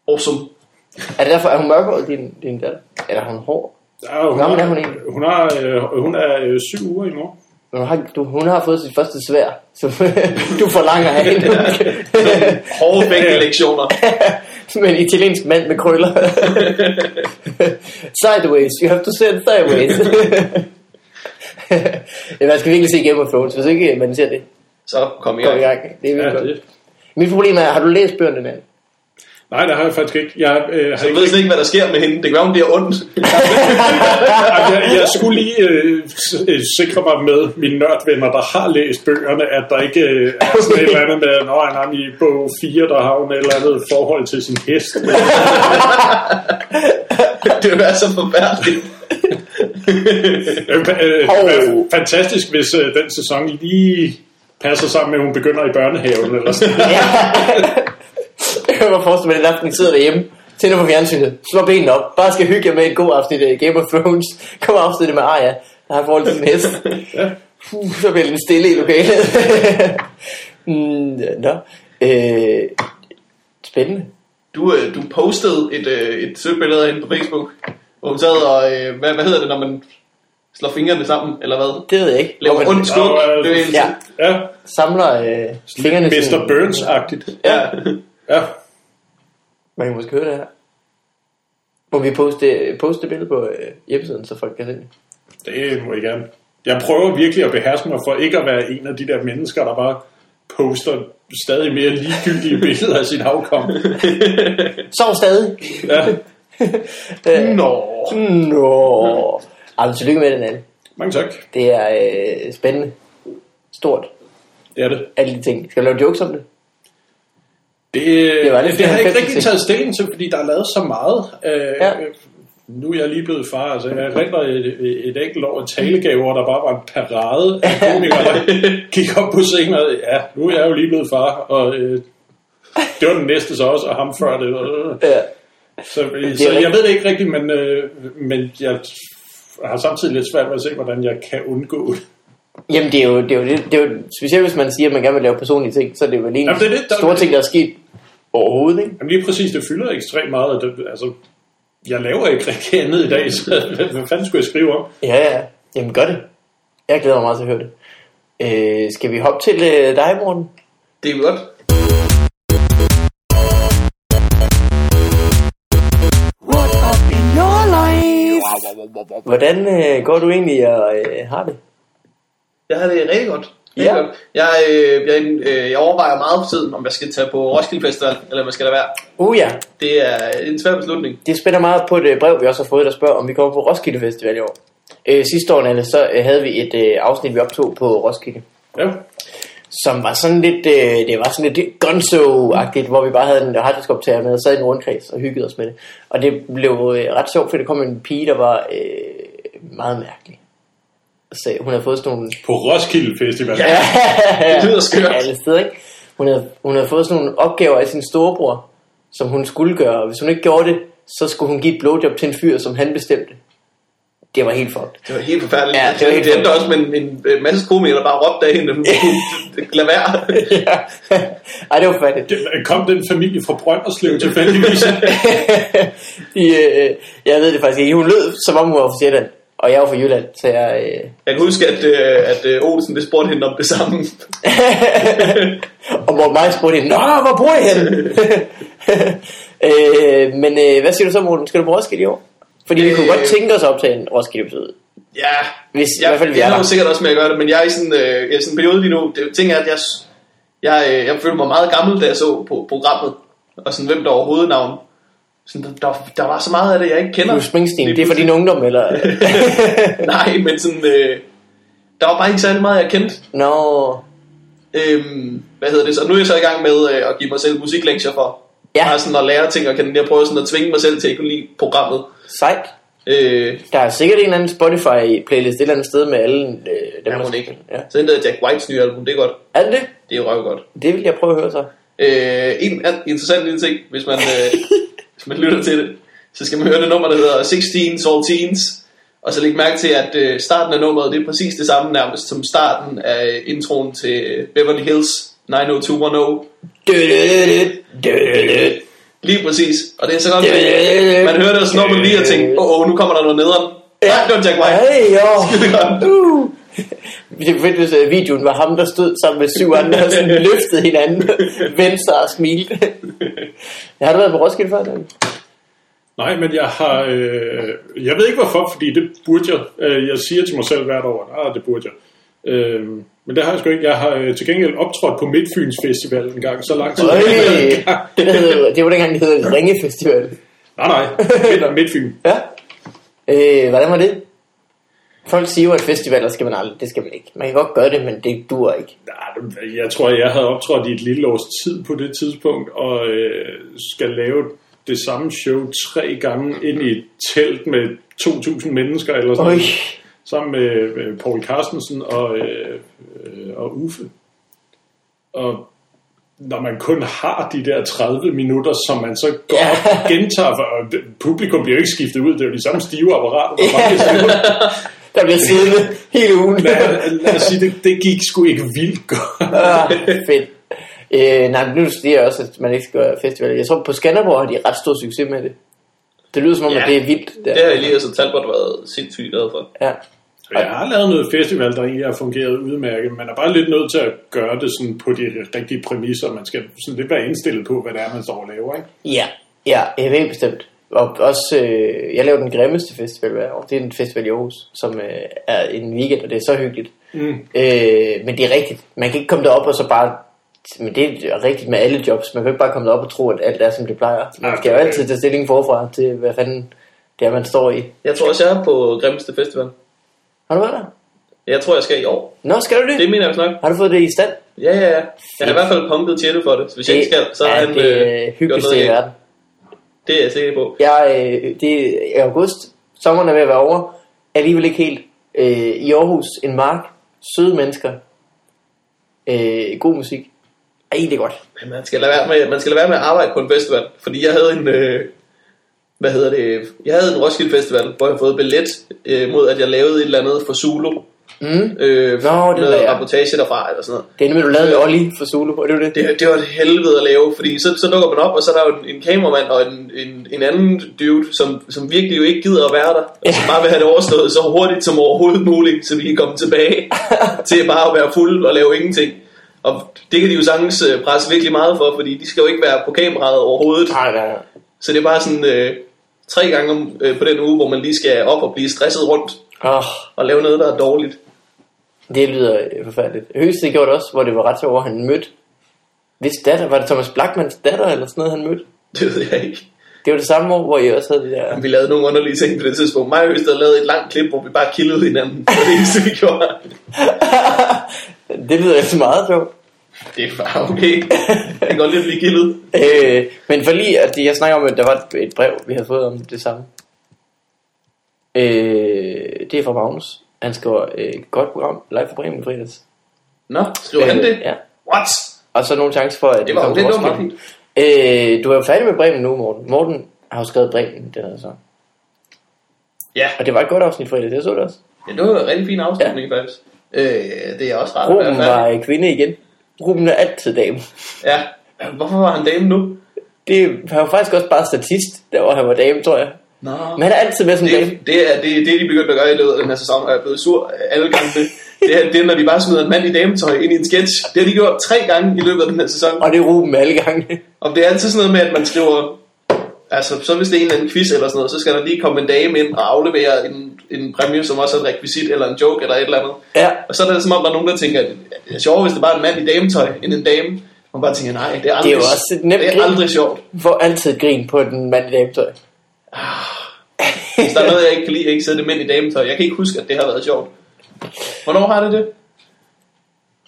A: Awesome.
B: Er det derfor, er hun mørkhåret, din, din datter? Eller er hun hård?
C: Ah, hun,
B: gammel
C: har,
B: er hun egentlig?
C: hun, har, øh, hun er øh, syv uger i morgen.
B: Men Hun har, du, hun har fået sit første svær, som du forlanger af hende.
A: Hårde begge lektioner.
B: Men italiensk mand med krøller. sideways, you have to send sideways. Ja, man skal virkelig se Game of Thrones, hvis ikke man ser det.
A: Så kom i
B: Kom i
A: gang.
B: gang. Det er
C: Ja,
B: virkelig godt.
C: det.
B: Mit problem er, har du læst bøgerne, mand?
C: Nej, det har jeg faktisk ikke. Jeg, øh, har
A: Jeg
C: ikke
A: ved slet ikke, hvad der sker med hende. Det kan være, hun bliver ondt.
C: Ej, jeg, jeg skulle lige øh, s- øh, sikre mig med mine nørdvenner, der har læst bøgerne, at der ikke øh, er sådan et eller andet med, at han har i bog 4, der har hun et eller andet forhold til sin hest.
A: det vil være så forfærdeligt.
C: Øh, øh,
B: Hov.
C: øh, fantastisk, hvis øh, den sæson lige passer sammen med, at hun begynder i børnehaven. Eller sådan.
B: Jeg kan bare forestille mig, at den aften I sidder derhjemme, tænder på fjernsynet, slår benene op, bare skal hygge jer med en god aften i øh, Game of Thrones, kommer afsnittet med Arya, der har forhold til sin hest.
C: Ja.
B: Puh, så bliver den stille i lokalet. mm, nå. Øh, spændende.
A: Du, øh, du postede et, øh, et sødt billede af hende på Facebook, hvor hun sad og... Øh, hvad, hvad hedder det, når man slår fingrene sammen, eller hvad?
B: Det ved jeg ikke.
A: Laver
B: Hvor man
A: ondt skud.
C: Nå, øh,
A: Det er en-
B: Ja.
C: ja.
B: samler øh, fingrene.
C: Mr.
B: sådan-
C: Burns-agtigt.
A: Ja.
C: Ja.
B: Man kan måske høre det her. Må vi poste, poste billede på øh, hjemmesiden, så folk kan se det?
C: Det må jeg gerne. Jeg prøver virkelig at beherske mig for ikke at være en af de der mennesker, der bare poster stadig mere ligegyldige billeder af sin afkom.
B: Sov stadig!
C: Ja.
B: Øh,
A: Nå.
B: Nå. Ej, men tillykke med den, Anne.
C: Mange tak.
B: Det er øh, spændende. Stort.
C: Det er det.
B: alle de ting. Skal vi lave jokes om det?
C: Det,
B: Det
C: det,
B: var
C: var
B: lidt
C: det, det har jeg ikke
B: 90'er
C: rigtig
B: ting.
C: taget stilling til, fordi der er lavet så meget. Øh,
B: Ja.
C: ja. Nu er jeg lige blevet far, altså jeg render et, et enkelt år af talegaver, der bare var en parade af komikere, der gik op på scenen og ja, nu er jeg jo lige blevet far, og øh, det var den næste så også, og ham før det. Og,
B: Ja.
C: så
B: er
C: øh, så jeg
B: rigtigt.
C: ved det ikke rigtigt, men, øh, men jeg har samtidig lidt svært ved at se, hvordan jeg kan undgå det.
B: Jamen, det er, jo, det, er jo, det, det er jo, specielt hvis man siger, at man gerne vil lave personlige ting, så er det jo lige en
C: Jamen, det er det, der-
B: stor ting, der er sket overhovedet, ikke?
C: Jamen lige præcis, det fylder ekstremt meget. og Det, altså, jeg laver ikke rigtig andet i dag, så hvad, hvad fanden skulle jeg skrive om?
B: Ja, ja. Jamen, gør det. Jeg glæder mig meget til at høre det. Øh, skal vi hoppe til øh, dig, Morten?
A: Det er jo godt.
D: What up in your life?
B: Hvordan øh, går du egentlig og øh, har det?
A: Jeg har det rigtig godt. Rigtig
B: Ja.
A: ja. godt. Jeg, øh, jeg, øh, jeg overvejer meget for tiden, om jeg skal tage på Roskilde Festival, eller om jeg skal lade være.
B: Uh ja,
A: Det er en svær beslutning.
B: det spænder meget på et øh, brev, vi også har fået, der spørger, om vi kommer på Roskilde Festival i år. Øh, sidste år, Nalle, så øh, havde vi et øh, afsnit, vi optog på Roskilde.
C: Ja,
B: som var sådan lidt, øh, det var sådan lidt gonzo-agtigt, hvor vi bare havde en harddiskoptager med og sad i en rundkreds og hyggede os med det. Og det blev øh, ret sjovt, for der kom en pige, der var øh, meget mærkelig. Så hun havde fået sådan nogle...
C: på Roskilde Festival. Ja.
A: Det lyder skørt.
B: Alle steder, ikke? Hun havde, hun havde fået sådan nogle opgaver af sin storebror, som hun skulle gøre. Og hvis hun ikke gjorde det, så skulle hun give et blowjob til en fyr, som han bestemte. Det var helt fucked.
A: Det var helt forfærdeligt.
B: Ja,
A: Ja,
B: det var
A: det,
B: helt
A: det endte også med en, en, en masse komikere, der bare råbte af hende, at hun kunne lade være.
B: ja. Ej, det var fattigt.
C: Kom den familie fra Brønderslev tilfældigvis?
B: de, øh, jeg ved det faktisk ikke. Hun lød, som om hun var fra Sjælland, og jeg var fra Jylland, så jeg... Øh,
A: Jeg kan huske, at, øh, at øh, Olsen det spurgte hende om det samme.
B: og Morten Maj spurgte hende, Nå, hvor bor I henne? øh, men øh, hvad siger du så, Morten? Skal du på Roskilde i år? Fordi vi kunne
A: Øh.
B: godt tænke os at optage en roskilde episode
A: Ja,
B: Hvis- i
A: jeg,
B: hvert fald, vi
A: jeg
B: er
A: ender
B: der.
A: jo sikkert også med at gøre det, men jeg er i sådan, øh, jeg er i sådan en periode lige nu. Det, ting er, at jeg, s- jeg, øh, jeg følte mig meget gammel, da jeg så på programmet. Og sådan, hvem der overhovedet navn. Sådan, der- der, der, var så meget af det, jeg ikke kender.
B: Bruce Springsteen,
A: Lige
B: det er for din ungdom, eller?
A: Nej, men sådan, øh, der var bare ikke særlig meget, jeg kendte.
B: Nå,
A: Øhm, hvad hedder det så? Nu er jeg så i gang med øh, at give mig selv musiklektier for.
B: Ja.
A: Ja. Bare sådan at lære ting og kende. Jeg prøver sådan at tvinge mig selv til at kunne lide programmet.
B: sejt.
A: Øh,
B: Der er sikkert en eller anden Spotify-playlist et eller andet sted med alle øh, dem,
A: det
B: der
A: må
B: skal-
A: ikke.
B: Ja.
A: Så hentede jeg Jack Whites nye album. Det er godt.
B: Er det det?
A: Det er røv godt.
B: Det vil jeg prøve at høre så.
A: Øh, en an- interessant lille ting, hvis man, øh, hvis man lytter til det, så skal man høre det nummer, der hedder 16 All Teens. Og så læg mærke til, at øh, starten af nummeret, det er præcis det samme nærmest som starten af introen til øh, Beverly Hills 90210. Øh, Lige præcis. Og det er så godt, at man hører det, og så når man lige og tænker, åh, oh, oh, nu kommer der noget nederen. Nej, det var Jack White.
B: Hey, jo.
A: Skidegodt.
B: Uh. Det er fedt, hvis øh, videoen var ham, der stod sammen med syv andre og sådan løftede hinanden, vendte sig og smilte. Har du været på Roskilde før, Dan?
C: Nej, men jeg har... Øh, jeg ved ikke hvorfor, fordi det burde jeg. Øh, jeg siger til mig selv hvert år, at ah, det burde jeg. Øh, men det har jeg sgu ikke. Jeg har øh, til gengæld optrådt på Midtfyns Festival en gang, så lang tid.
B: Øj,
C: Nej,
B: det, hed, det var dengang, det hed Ringefestival.
C: nej. Midt, Midtfyn.
B: Ja. Øh, hvordan var det? Folk siger jo, at festivaler skal man aldrig. Det skal man ikke. Man kan godt gøre det, men det dur ikke.
C: Nej, Ah, Jeg tror, jeg havde optrådt i et lille års tid på det tidspunkt, og øh, skal lave det samme show tre gange ind i et telt med 2.000 mennesker, eller sådan
B: Øj.
C: noget, sammen med øh, Paul Carstensen og, øh, øh, og Uffe. Og når man kun har de der 30 minutter, som man så går
B: Ja.
C: ja. og gentager, for og det- publikum bliver jo ikke skiftet ud, det er jo de samme stive apparater, der mange stemmer.
B: Der bliver siddende hele ugen.
C: Lad, lad os sige, det, det gik sgu ikke vildt godt.
B: Ah, fedt. Øh, nej, men nu siger jeg også, at man ikke skal gøre festivaler. Jeg tror, på Skanderborg har de ret stor succes med det. Det lyder som om, ja.
A: Ja.
B: at det er vildt. Der.
A: Det har Elias og Talbot været sindssygt glad for.
B: Ja.
C: Og Jeg har lavet noget festival, der egentlig har fungeret udmærket. Man er bare lidt nødt til at gøre det sådan på de rigtige præmisser. Man skal sådan lidt være indstillet på, hvad det er, man står og laver. Ikke?
B: ja, ja, jeg ved bestemt. Og også, øh, jeg laver den grimmeste festival hver år. Det er en festival i Aarhus, som øh, er en weekend, og det er så hyggeligt.
C: Mm.
B: Øh, men det er rigtigt. Man kan ikke komme derop og så bare... Men det er rigtigt med alle jobs. Man kan ikke bare komme derop og tro, at alt er, som det plejer. Man
C: Nej,
B: skal jo
C: det er-
B: altid tage stilling forfra til, hvad fanden det er, man står i.
A: Jeg tror også, jeg er på Grimmeste Festival.
B: Har du været der?
A: Jeg tror, jeg skal i år.
B: Nå, skal du det?
A: Det mener jeg nok.
B: Har du fået det i stand?
A: Ja, ja, ja. Jeg har i hvert fald pumpet Tjette for det. Hvis jeg ikke skal, så
B: er
A: har han
B: det
A: øh,
B: øh, hyggeligste i
A: galt.
B: verden.
A: Det er jeg sikker på.
B: Jeg, øh, det er i august. Sommeren er ved at være over. Alligevel ikke helt. Øh, I Aarhus, en mark. Søde mennesker. Øh, god musik. Ej, det er godt.
A: Men man skal, lade være med, man skal lade være med at arbejde på en festival. Fordi jeg havde en... Øh, hvad hedder det? Jeg havde en Roskilde Festival, hvor jeg havde fået billet øh, mod, at jeg lavede et eller andet for Zulu.
B: Mm.
A: Øh,
B: Nå, det ved
A: noget
B: jeg.
A: rapportage derfra eller sådan noget.
B: Det er nemlig, du lavede med Olli for Zulu, og det er jo det.
A: det, det var et helvede at lave, fordi så, så dukker man op, og så er der jo en, en kameramand og en, en, en anden dude, som, som virkelig jo ikke gider at være der, og som bare vil have det overstået så hurtigt som overhovedet muligt, så vi kan komme tilbage til bare at være fuld og lave ingenting. Og det kan de jo sagtens øh, presse virkelig meget for, fordi de skal jo ikke være på kameraet overhovedet.
B: Nej, nej, nej.
A: Så det er bare sådan øh, tre gange om, øh, på den uge, hvor man lige skal op og blive stresset rundt
B: Oh,
A: og lave noget, der er dårligt.
B: det lyder øh, forfærdeligt. Høgste gjorde det også, hvor det var ret sjovt, at han mødte. Hvis datter, var det Thomas Blackmans datter eller sådan noget, han mødte?
A: Det ved jeg ikke.
B: Det var det samme år, hvor I også havde det der.
A: Vi lavede nogle underlige ting på det tidspunkt. Mig og Øst havde lavet et langt klip, hvor vi bare killede hinanden. Det var det eneste, vi gjorde.
B: Det lyder altså meget sjovt.
A: Det er bare okay. Jeg kan godt lide at blive kildet.
B: Øh, men for lige, at jeg snakker om, at der var et brev, vi havde fået om det samme. Øh, det er fra Magnus. Han skriver, øh, godt program, live for Bremen i fredags.
A: Nå, skriver han det?
B: Ja.
A: What?
B: Og så nogle chance for, at
A: Det var jo
B: kommer
A: det,
B: til
A: det var meget
B: Roskilde. øh, Du er jo færdig med Bremen nu, Morten. Morten har jo skrevet Bremen, den her så.
A: Ja,
B: Og det var et godt afsnit i fredags, jeg så det også.
A: ja det var en rigtig fin afslutning ja. faktisk. Øh, det er også rart. at være
B: Ruben var
A: færdig.
B: øh, kvinde igen. Ruben er altid dame.
A: Ja. Hvorfor var han dame nu?
B: Det, han var faktisk også bare statist, der hvor han var dame, tror jeg.
A: Nå.
B: Men han er altid med som
A: Det,
B: dame.
A: det, er, det, det er de begyndt at gøre i løbet af den her sæson, og jeg er blevet sur alle gange. Det, det, er, det er, når de bare smider en mand i dametøj ind i en sketch. Det har de gjort tre gange i løbet af den her sæson.
B: Og det er Ruben alle gange.
A: Og det er altid sådan noget med, at man skriver... Altså, så hvis det er en eller anden quiz eller sådan noget, så skal der lige komme en dame ind og aflevere en, en præmie, som også er et rekvisit eller en joke eller et eller andet.
B: Ja,
A: Og så er det som om, der er nogen, der tænker, at det er sjovere, hvis det bare er en mand i dametøj end en dame. Man bare tænker, nej, det er aldrig,
B: Det er jo også et nemt
A: det
B: grin.
A: er aldrig sjovt.
B: får altid grin på den mand i dametøj.
A: Hvis der er noget, jeg ikke kan lide, jeg ikke sidder det mænd i dametøj. Jeg kan ikke huske, at det har været sjovt. Hvornår har det det?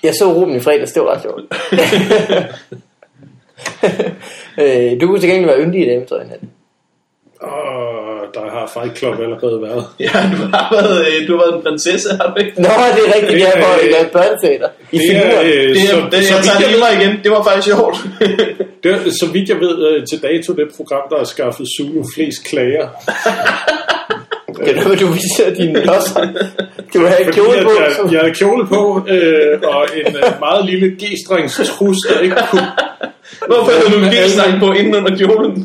B: Jeg så Ruben i fredags, det var ret sjovt. øh, du kunne til gengæld være yndig i dametøj, Nat.
C: Og der har Fight Club allerede været.
A: Ja, du har været, øh, du har været en prinsesse, har du ikke?
B: Nå, det er rigtigt, det er for at lave børneteater. I
C: Det er,
B: figuren.
C: øh,
A: Det,
C: så,
A: er, det,
C: så,
A: jeg tager det
C: vidt
A: i
C: jeg,
A: mig igen. Det var faktisk sjovt.
C: det er, så vidt jeg ved, øh, til dato det program, der har skaffet Zulu flest klager.
B: Det er noget, du viser dine losser. Du har en
C: Fordi
B: kjole
C: at øh,
B: på.
C: jeg,
B: som-
C: jeg havde kjole på, øh, og en øh, meget lille g-strengs trus, der ikke kunne...
A: Hvorfor havde du en
C: Alle-
A: g-stang på inden under kjolen?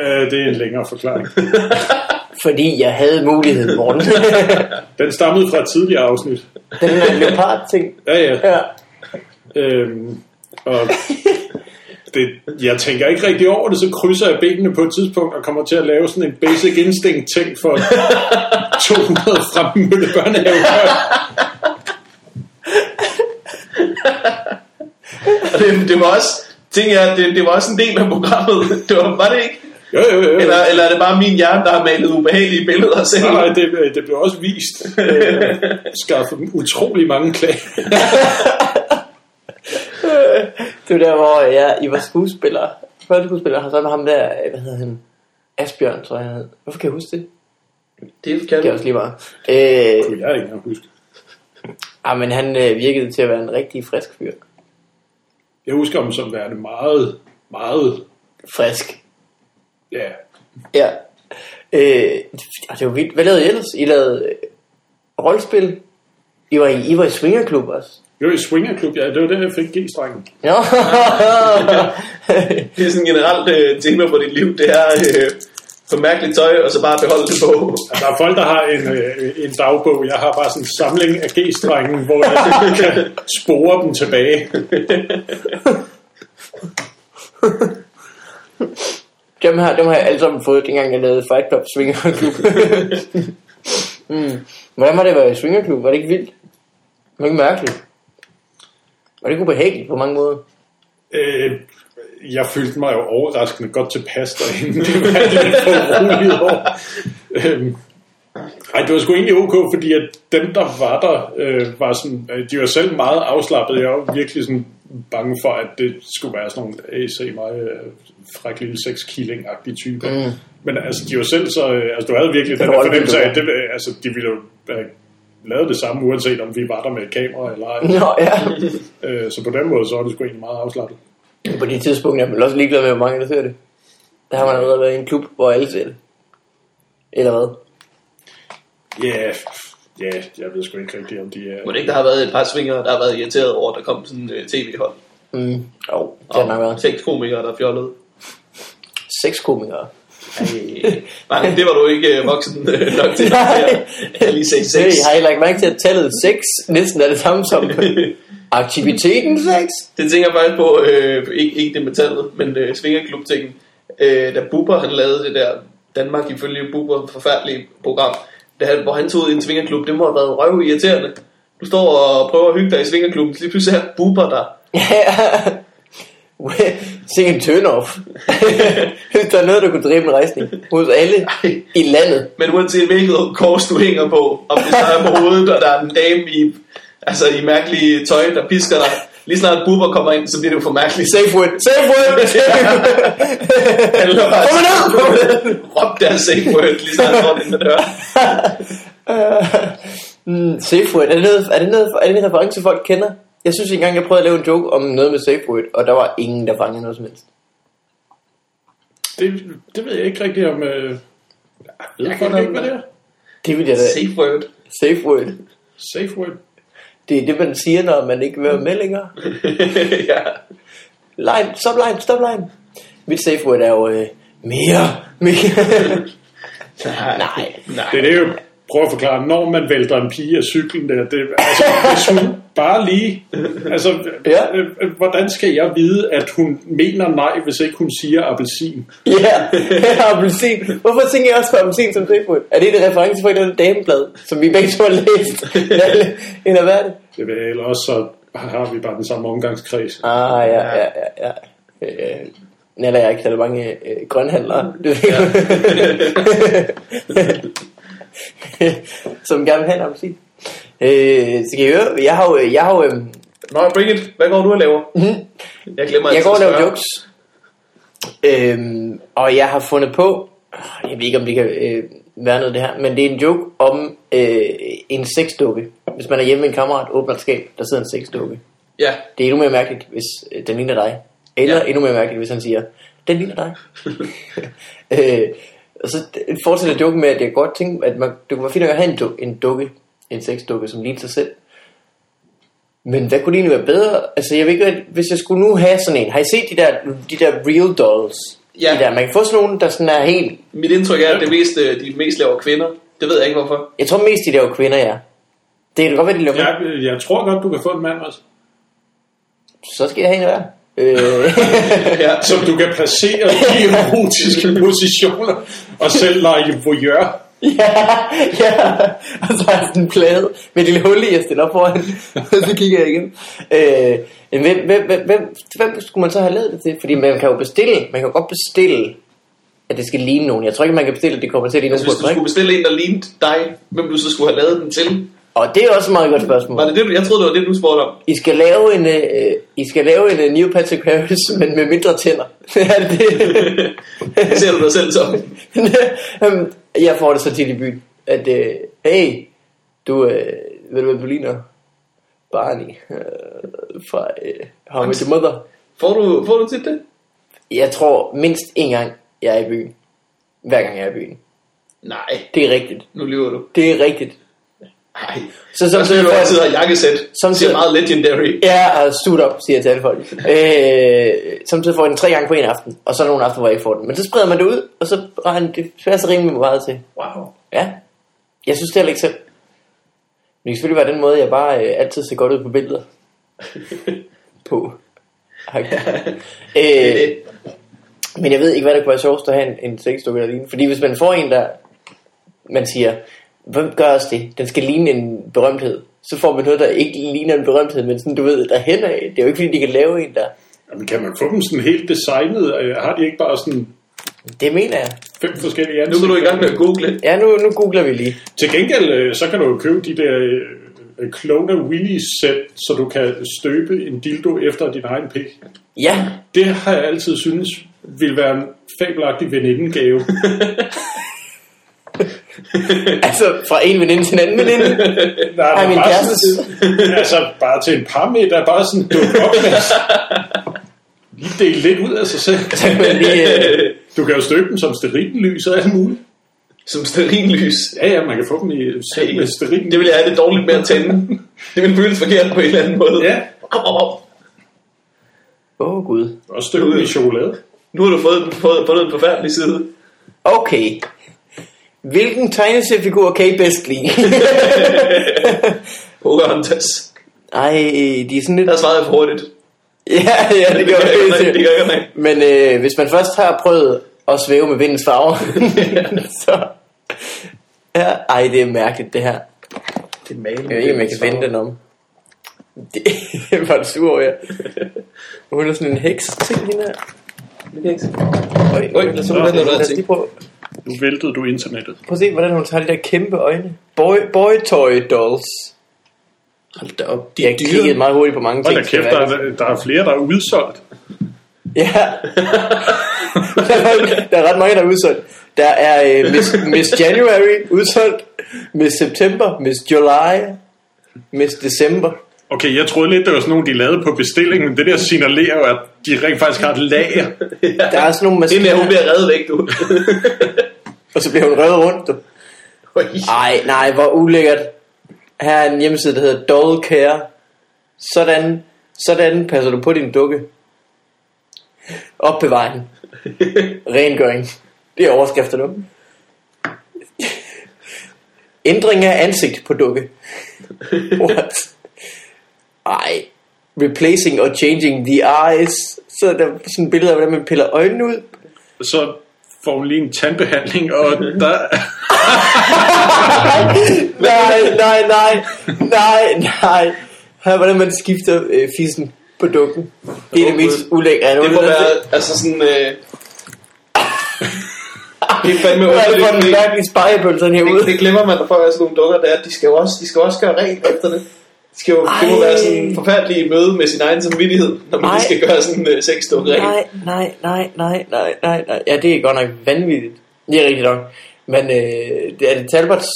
C: Øh, det er en længere forklaring.
B: Fordi jeg havde muligheden, morgen.
C: Den stammede fra et tidligere afsnit.
B: den der leopard-ting.
C: Ja, ja.
B: Ja.
C: Øhm, og det, jeg tænker ikke rigtig over det, så krydser jeg benene på et tidspunkt og kommer til at lave sådan en basic instinct ting for 200 fra Mølle Børnehave.
A: Og det, det var også, tænker jeg, det, det var også en del af programmet. Det var, var det ikke?
C: Jo, jo, jo.
A: Eller, eller er det bare min hjerne, der har malet ubehagelige billeder selv?
C: Nej, nej, det, det blev også vist. Øh, skaffet dem utrolig mange klager.
B: Det var der, hvor jeg, I var skuespillere. Børneskuespillere har sammen med ham der, hvad hedder han? Asbjørn, tror jeg han hed. Hvorfor kan jeg huske det?
A: Det kan
B: Det er
A: jeg
B: også lige meget. Øh,
C: Jeg er ikke engang huske.
B: Ah, men han øh, virkede til at være en rigtig frisk fyr.
C: Jeg husker ham som værende meget, meget,
B: Frisk.
C: ja,
B: Ja. Øh, og det var vildt. Hvad lavede I ellers? I lavede øh, rollespil. I var i, I var i swingerklub også.
C: jo, i Swingerklub, ja, det var der, jeg fik G-strengen.
B: Ja.
A: Det er sådan generelt øh, tema for dit liv, det er øh, for mærkeligt tøj, og så bare beholde det på.
C: Altså, Der er folk, der har en, øh, en dagbog. Jeg har bare sådan en samling af G-strenge, hvor jeg kan spore dem tilbage.
B: dem, her, dem har jeg alle sammen fået, dengang jeg lavede Fight Club Swingerklub. mm. Hvordan var det at være i swingerklub? Var det ikke vildt? Var det ikke mærkeligt? Var det ikke ubehageligt på mange måder?
C: Øh, jeg følte mig jo overraskende godt tilpas derinde. Det var jeg lidt for roligt over. Øhm, Nej, det var sgu egentlig ok, fordi at dem, der var der, øh, var sådan, øh, de var selv meget afslappede. Jeg var virkelig sådan bange for, at det skulle være sådan nogle AC meget øh, fræk lille sex killing agtige typer. Mm. Men altså, de var selv så... Øh, altså, du havde virkelig den,
B: Den
C: der
B: rolle,
C: fornemmelse af,
B: du
C: at det, øh, altså, de ville jo øh, lave det samme, uanset om vi var der med et kamera eller ej.
B: Nå, ja.
C: Øh, så på den måde, så var det sgu egentlig meget afslappet.
B: På de tidspunkter er man også ligeglad med, hvor mange der ser det. Der har man allerede været i en klub, hvor alle ser det. Eller hvad?
C: Ja, yeah. ja, yeah, jeg ved sgu ikke rigtigt, om de er...
A: Må det ikke, der har været et par svinger, der har været irriteret over, at der kom sådan en øh, tv-hold.
B: Mm. Jo, det har nok
A: Og
B: været.
A: seks komikere, der fjollede.
B: Seks komikere.
A: Nej, det var du ikke øh, voksen øh, nok til.
B: Nej.
A: Jeg lige sagde
B: Se,
A: seks.
B: jeg har heller ikke mærke til, at tallet 6 næsten er det samme som aktiviteten 6.
A: Det tænker jeg faktisk på, øh, ikke, ikke det med tallet, men øh, svingerklub-tingen. Øh, da Bubber han lavede det der Danmark ifølge Bubber forfærdelige program, da han, hvor han tog ud i en svingerklub, det må have været røv irriterende. Du står og prøver at hygge dig i svingerklubben, så lige pludselig er Bubber der.
B: Sikke en turn-off. Hvis der er noget, der kunne drive en rejsning hos alle
A: Ej.
B: i landet.
A: Men uanset hvilket kors du hænger på, om det så er på hovedet, og der er en dame i, altså, i mærkelige tøj, der pisker dig, lige snart Bubber kommer ind, så bliver det jo for mærkeligt. Så
B: Safe word, safe word, safe word.
A: handler bare,
B: Kom ned!
A: Kom ned! Råb der safe word, lige snart han går ind ad døren.
B: Mm, safe word, er det, noget, er, det noget, er det en reference, folk kender? Jeg synes engang, jeg prøvede at lave en joke om noget med safe word, og der var ingen, der fangede noget som helst.
C: Det, det ved jeg ikke rigtigt, om... Øh, jeg ved
A: kan
C: folk ikke,
A: da-
C: hvad det er.
B: Det ville jeg da...
A: Safe word.
B: Safe word.
C: Safe word.
B: Det er det, man siger, når man ikke vil være med længere.
A: ja.
B: Line, stop line, stop line. Mit safe word er jo øh, mere, mere. Nej.
A: Nej.
C: Det er det, jeg prøver at forklare. Når man vælter en pige af cyklen der, det, altså, hvis hun bare lige... Altså,
B: Ja.
C: ja. øh, øh, hvordan skal jeg vide, at hun mener nej, hvis ikke hun siger appelsin?
B: Ja, yeah. appelsin. Hvorfor tænker jeg også på appelsin som safe word? Er det en reference for et eller andet dameblad, som vi begge to har læst? Eller hvad er det?
C: Det ved jeg, eller også så har vi bare den samme omgangskreds.
B: Ah, ja, ja, ja, ja. Øh, Nella, jeg er ikke særlig mange øh, grønhandlere, det ved jeg. som gerne vil have en appelsin. Øh, så kan I høre, jeg har jo, jeg har jo, øh,
A: Nå, Brigitte, hvad går du og laver? Jeg glemmer
B: Mhm. jeg
A: altid
B: går og
A: at
B: laver
A: spørge.
B: jokes, øhm, og jeg har fundet på, jeg ved ikke om det kan øh, være noget af det her, men det er en joke om øh, en sexdukke. Hvis man er hjemme med en kammerat, åbner et skab, der sidder en sexdukke.
A: Ja.
B: Det er endnu mere mærkeligt, hvis øh, den ligner dig. Eller
A: Ja.
B: ja. endnu mere mærkeligt, hvis han siger, den ligner dig. øh, og så d- fortsætter joken med, at jeg godt tænker, at man, det kunne være fint at have en, du- en dukke, en sexdukke, som ligner sig selv. Men hvad kunne det egentlig være bedre? Altså, jeg ved ikke, rigtig- hvis jeg skulle nu have sådan en. Har I set de der, de der real dolls?
A: Ja.
B: De der, man kan få sådan nogle, der sådan er helt...
A: Mit indtryk er, at det mest, øh, de mest laver kvinder. Det ved jeg ikke, hvorfor.
B: Jeg tror mest, de laver kvinder, ja. Det kan godt være, de laver
C: Jeg, jeg tror godt, du kan få en mand også.
B: Så skal jeg have en af hver. Øh,
A: Ja.
C: Som du kan placere i erotiske positioner og selv lege voyeur.
B: Ja, ja. Og så har jeg sådan en plade med et lille hul i, jeg stiller op foran. Og så kigger jeg igen. Øh, men hvem, hvem, hvem, hvem, hvem skulle man så have lavet det til? Fordi man kan jo bestille, man kan jo godt bestille, at det skal ligne nogen. Jeg tror ikke, man kan bestille, at det kommer til at ligne
A: Altså, hvis
B: nogen
A: du
B: på et
A: skulle
B: drink.
A: bestille en, der lignede dig, hvem du så skulle have lavet den til.
B: Og det er også et meget godt
A: Var
B: spørgsmål.
A: det det, du- jeg troede, det var det, du spurgte om.
B: I skal lave en, øh, I skal lave en øh, Neil Patrick Harris, men med mindre tænder. er det
A: Ser du dig selv som?
B: Øhm, jeg får det så tit i byen, at øh, hey, du, øh, ved du hvem du ligner? Barney øh, fra øh, How I Met Your Mother.
A: Får du, får du tit det?
B: Jeg tror mindst en gang, jeg er i byen. Hver gang jeg er i byen.
A: Nej,
B: Det er rigtigt.
A: nu lyver du.
B: Det er rigtigt.
A: Nej.
B: Så
A: Som
B: som
A: sidder
B: sidder
A: du altid
B: folk,
A: har jakkesæt. Som
B: Samtidig-
A: ser meget legendary.
B: ja, og suit op, siger jeg til alle folk. Øh, samtidig får jeg den tre gange på en aften, og så er der nogle aften, hvor jeg ikke får den. Men så spreder man det ud, og så regner det passer rimelig meget til.
A: Wow.
B: Ja. Jeg synes det heller ikke selv. Men det kan selvfølgelig være den måde, jeg bare øh, altid ser godt ud på billeder. på.
A: Det er det.
B: øh, men jeg ved ikke, hvad der kunne være sjovest at have en, en sexdukke der lignende. Fordi hvis man får en, der... Man siger, hvem gør os det? Den skal ligne en berømthed. Så får man noget, der ikke ligner en berømthed, men sådan, du ved, der hen af. Det er jo ikke, fordi de kan lave en der.
C: Jamen, kan man få dem sådan helt designet? Øh, Har de ikke bare sådan
B: Det mener jeg.
C: Fem forskellige
A: Nu
C: ansigter.
A: går du i gang med at google.
B: Ja, nu, nu googler vi lige.
C: Til gengæld, øh, så kan du jo købe de der øh, Clone Willy-sæt, så du kan støbe en dildo efter din egen pik.
B: Ja,
C: Det har jeg altid synes ville være en fabelagtig venindegave.
B: altså fra en veninde til en anden veninde.
C: Nej,
B: Ej,
C: men
B: min
C: bare
B: kæreste.
C: sådan til- altså, bare til en par meter, bare sådan dukke op med. Lige dele lidt ud af sig selv.
B: Så kan man lige, øh,
C: Du kan jo støbe dem som sterillys og alt muligt.
A: Som stearinlys.
C: Ja, ja, man kan få dem i selv med steril.
A: Det ville jeg have det dårligt med at tænde. Det ville føles forkert på en eller anden måde.
C: Ja.
A: Au, au, au.
B: Åh oh, gud.
C: Og støbe dem i chokolade.
A: Nu har du fået, fået, fået en forfærdelig side.
B: Okay. Hvilken tegneseriefigur kan I bedst lide?
A: Pocahontas.
B: Ej, de er sådan lidt...
A: Der svarede jeg for hurtigt.
B: Ja, ja, det
A: Det
B: gør
A: gør
B: jeg
A: jeg- Altså- det gør jeg ikke.
B: Men øh, hvis man først har prøvet at svæve med vindens farver, så... Ja, ej, det er mærkeligt, det her.
A: Det er malen.
B: Jeg ved ikke, om jeg kan vende den om. Det var det sur over, ja. Hun er sådan en heks ting, hende her. Øj,
A: Øj, lad os nu vende noget
B: lige
A: ting.
B: prøve,
C: Nu væltede du internettet.
B: prøve at se, hvordan hun tager de der kæmpe øjne. Boy, boy toy dolls. Hold da op.
A: de er
B: jeg
A: dyre.
B: kiggede meget hurtigt på mange ting.
C: Hold da
B: skal
C: kæft,
B: jeg
C: der
B: være
C: er, der er flere, der er udsolgt.
B: Ja. der, er, der er ret mange, der er udsolgt. Der er øh, Miss, Miss January udsolgt, Miss September, Miss July, Miss December.
C: Okay, jeg troede lidt, det var sådan nogle, de lavede på bestilling, men det der signalerer jo, at de rent faktisk har et lager.
B: Der er sådan nogle
A: Inden er hun
B: maskiner,
A: bliver reddet væk, du.
B: og så bliver hun revet rundt. Du.
A: Oj.
B: Ej, nej, hvor ulækkert. Her er en hjemmeside, der hedder Doll Care. Sådan, sådan passer du på din dukke. Opbevaring. Rengøring. Det er overskrifter nu. Ændring af ansigt på dukke. What? Ej. Replacing or changing the eyes. Så er der sådan billeder af, hvordan man piller øjnene ud.
C: Så får hun lige en tandbehandling, og der,
B: nej, nej, nej, nej, nej. Hør, hvordan man skifter øh, fissen på dukken. Det er det mest ulækre.
A: Det må være, altså sådan... Øh... Det er fandme
B: Hvad er det for en
A: underligt.
B: mærkelig spejepølse herude?
A: Det, det glemmer man, når folk er sådan nogle dukker, der er, at de skal jo også, de skal jo også gøre rent efter det. Det skal jo det må
B: Ej.
A: være sådan en forfærdelig møde med sin egen samvittighed, når man
B: Ej.
A: lige skal gøre sådan en uh, sexdukke rent.
B: Nej, nej, nej, nej, nej, nej, nej. Ja, det er godt nok vanvittigt. Det er rigtigt nok. Men øh, det er det Talbots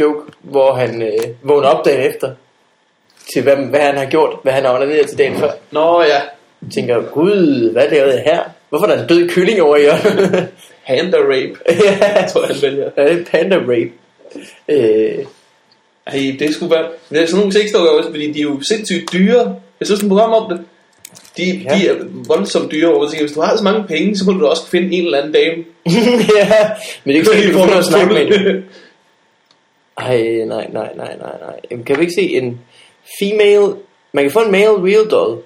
B: joke, hvor han øh, vågner op dagen efter til, hvad, hvad han har gjort, hvad han har ordnet til dagen før.
A: Nå ja,
B: Tænker, gud, hvad lavede jeg her? Hvorfor er der en død kylling over i hjørnet?
A: panda rape,
B: ja.
A: tror jeg, han vælger.
B: Ja, det er panda rape. Øh,
A: Ej, det skulle være... Det er sådan nogle sexdukker også, fordi de er jo sindssygt dyre. Jeg så sådan et program om det. De, ja. de er voldsomt dyre, og jeg tænker, hvis du har så mange penge, så må du da også finde en eller anden dame.
B: ja, men det er ikke sikkert, du får noget at snakke med. hende.
A: med
B: Ej, nej, nej, nej, nej, nej. Jamen, kan vi ikke se en female... Man kan få en male real doll.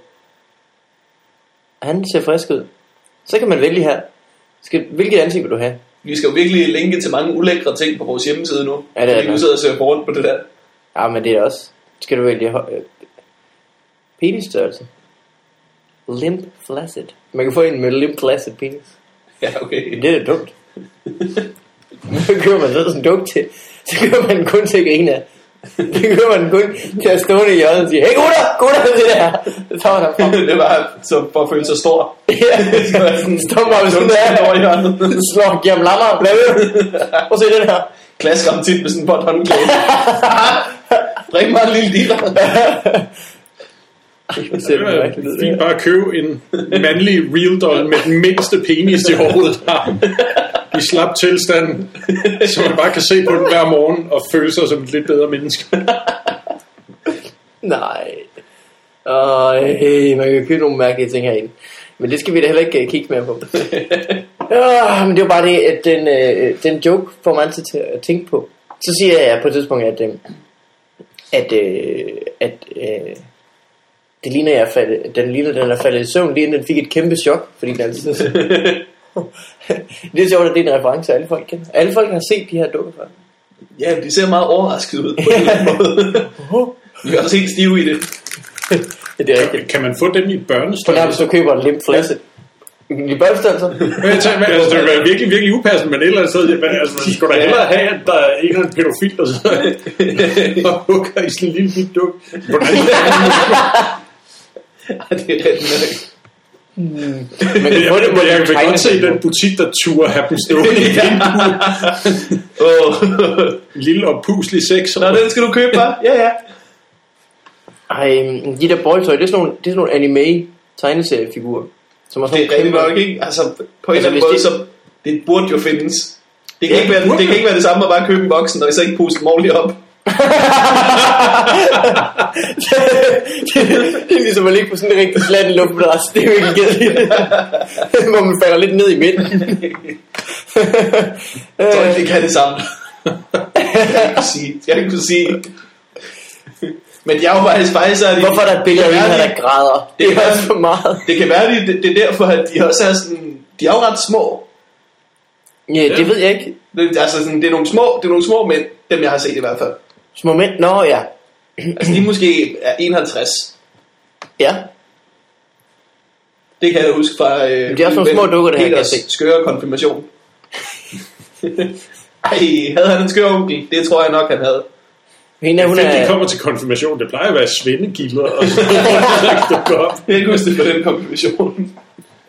B: Han ser frisk ud. Så kan man vælge her. Skal, hvilket ansigt vil du have?
A: Vi skal jo virkelig linke til mange ulækre ting på vores hjemmeside nu.
B: Ja, det er
A: fordi
B: nok.
A: nu sidder jeg og ser hårdt på det der.
B: Ja, Ah, men det er også... Skal du vælge hø- øh, penisstørrelse? Limp flaccid. Man kan få en med limp flaccid penis.
A: Ja, okay.
B: Det er da dumt. Så kører man sådan en duk til. Så kører man kun til at grine af. Så kører man kun til at stå i hjørnet og sige, hey gutter, gutter, det der. Så var der frem.
A: det var så for at føle sig stor.
B: Ja,
A: Det var sådan,
B: står man sådan
A: over i
B: der.
A: hjørnet.
B: Slår gennem lammer og blæver. Prøv at se den her.
A: Klasker ham tit med sådan en pot håndklæde. Drik mig en lille liter.
B: Det ser
C: Ja,
B: mærkeligt ud, det
C: fint
B: her.
C: bare købe en mandlig real doll med den mindste penis i hovedet har. I slap tilstand, så man bare kan se på den hver morgen og føle sig som et lidt bedre menneske.
B: Nej. Og hey, man kan købe nogle mærkelige ting herinde. Men det skal vi da heller ikke øh, kigge mere på. Ah, men det var bare det, at den, øh, den joke får man altid til at tænke på. Så siger jeg på et tidspunkt, at, øh, at, øh, at øh, det ligner, jeg er faldet, den ligner, den er faldet i søvn, lige inden den fik et kæmpe chok, fordi den altid... det er sjovt, at det er en reference, alle folk kender. Alle folk har set de her dukker før.
A: Ja, de ser meget overrasket ud på en eller anden måde. Vi er også helt stive i det.
B: Ja, det er rigtigt.
C: Kan man få dem i
B: På nærmest,
C: børnestørrelse?
B: du køber en limp flaske. I børneforståelse?
C: Men jeg tænker, men, altså, det ville være virkelig, virkelig upassende, men et eller andet sted, men, altså, man skulle da hellere have, at der er ikke er en pædofil, der sidder og hugger i sådan en lille bit duk. Hvordan
A: Ej, det er rigtig nok.
B: Men
C: jeg,
B: må
C: jeg,
B: det, må
C: jeg,
B: det
C: kan godt se den
B: tegne
C: butik, der turde have dem stående i en
A: Åh.
C: lille og puslig sex.
A: Nå, den skal du købe, hva'? Ja, ja.
B: Ej, men de der boytøj, det er sådan nogle, det er sådan nogle anime tegneseriefigurer. Som er
A: Det
B: sådan
A: er rigtig
B: kæmpe-
A: nok, ikke? Altså, på en eller
B: Altså,
A: anden
B: hvis
A: måde,
B: det-
A: så det burde jo findes. Det kan,
B: Ja,
A: ikke være,
C: burde
A: det kan
C: jo.
A: ikke være det samme at bare købe en voksen, og så ikke puste dem ordentligt op.
B: det er ligesom at ligge på sådan en rigtig slat luftmadras. Det er jo ikke kedeligt. Hvor man falder lidt ned i midten. Øh.
A: Jeg tror ikke, det kan det samme. Jeg kan ikke kunne sige. Jeg kan ikke kunne sige. Men jeg er jo faktisk, faktisk så er de,
B: Hvorfor er der et billede af
A: det
B: en
A: kan
B: her,
A: være,
B: der græder? Det
A: Det
B: er
A: er-
B: også for meget.
A: de- Det kan være, det, det, det er derfor, at de også er sådan... De er jo ret små.
B: Ja, det ved jeg ikke.
A: Det, altså, sådan, det, er nogle små, det er nogle små mænd, dem jeg har set i hvert fald.
B: Små mænd? Nå, ja.
A: Altså, de er måske er 51.
B: Ja.
A: Det kan jeg da huske fra... Øh,
B: de er også nogle
A: min
B: små
A: ven
B: dukker, det her, kan jeg
A: Peters
B: se.
A: skøre konfirmation. Ej, havde han en skør onkel? Det tror jeg nok, han havde.
B: Hende, hun
C: Hun er... de
B: er...
C: kommer til konfirmation. Det plejer at være svindegilder, og så dukker op.
A: Jeg kan ikke huske det på den konfirmation.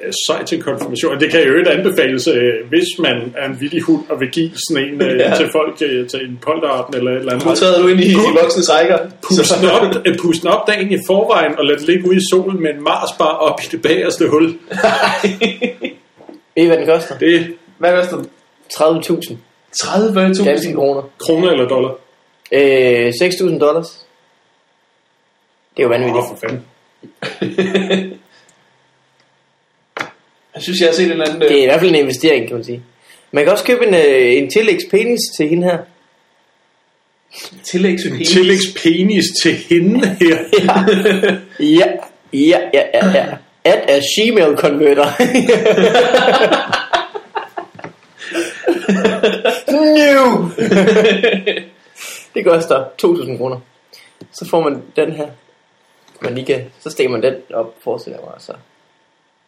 C: Øh, Sej til konfirmation. Det kan jo øvrigt anbefales, øh, hvis man er en villig hund og vil give sådan en øh,
A: Ja.
C: til folk, øh, til en polterappen eller et eller andet.
A: Nu træder du ind i, i voksne rækker.
C: Pust den op, øh, pust den op dagen i forvejen og lad det ligge ude i solen med en marsbar op i det bagerste hul.
B: Ved I, hvad den koster?
C: Det er
A: Hvad koster den?
B: 30.000 danske
A: 30.000
B: kroner.
C: kroner eller dollar.
B: Øh, 6.000 dollars. Det er jo
C: Åh,
B: vanvittigt.
C: oh, for fanden.
A: Jeg synes, jeg har set en eller anden... øh,
B: Det er i hvert fald en investering, kan man sige. Man kan også købe en, øh, en tillægspenis til hende her.
A: tillægspenis.
C: Tillægspenis til hende her.
B: Ja, ja, ja, ja, ja. At a Gmail converter. New! det koster 2.000 kroner. Så får man den her. Man lige kan, så stikker man den op, forestiller jeg mig, og så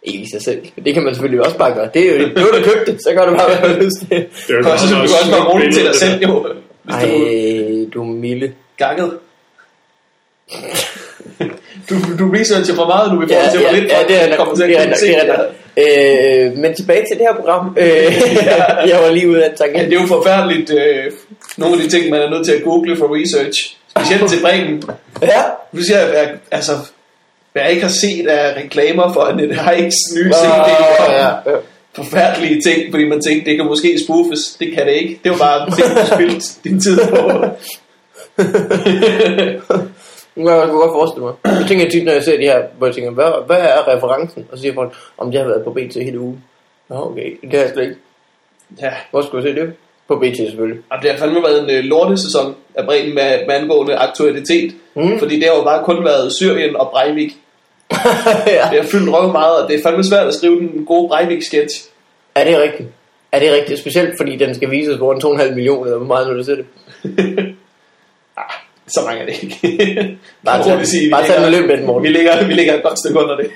B: ikke i sig selv. Det kan man selvfølgelig også bare gøre. Det er jo det, du der købte, så gør du bare, hvad du har lyst til.
C: Det er jo
A: Du kan også, du
C: meget
A: kan også bare
C: smukt
A: bruge den til dig
C: billede, det
A: selv,
C: der.
A: jo. Hvis du er
B: Ej, du er milde.
A: ganget. Du, du researcher for meget, du vil få
B: Ja,
A: til at
B: ja,
A: få lidt.
B: ja,
A: for
B: det er
A: at
B: nok,
A: komme til at
B: det er
A: kunne
B: nok,
A: se
B: det er nok. Øh, men tilbage til det her program. Øh, jeg var lige ude af en
A: Ja,
B: tangent.
A: det er jo forfærdeligt, øh, nogle af de ting, man er nødt til at google for research. Specielt til Bremen.
B: Ja,
A: Du siger, at jeg, altså, hvad jeg ikke har set af reklamer for Annette Heiks nye CD. kom.
B: ja, ja.
A: Forfærdelige ting, fordi man tænkte, det kan måske spoofes. Det kan det ikke. Det var bare en ting, du spildte din tid på.
B: Nu kan jeg godt forestille mig. Jeg tænker tit, når jeg ser de her, hvor jeg tænker, hvad, hvad er referencen? Og så siger folk, om det har været på BT hele ugen. Nå, okay, det har jeg slet ikke.
A: Ja,
B: Hvor skulle jeg se det? På BT selvfølgelig.
A: Jamen, det har fandme været en øh, lortesæson af Bremen med, med angående aktualitet.
B: Mm.
A: Mm. Fordi det har jo bare kun været Syrien og Breivik.
B: ja.
A: Det har fyldt røv meget, og det er fandme svært at skrive den gode Breivik-sketch.
B: Er det rigtigt? Er det rigtigt? Specielt fordi den skal vises foran 2,5 millioner, eller hvor meget nu du ser det.
A: Ah, Så mange er det ikke.
B: Bare
A: Jeg må roligt
B: tag,
A: vi
B: bare tag den i
A: ligger-
B: løbet af den morgen.
A: Vi ligger, vi ligger et godt stykke under det.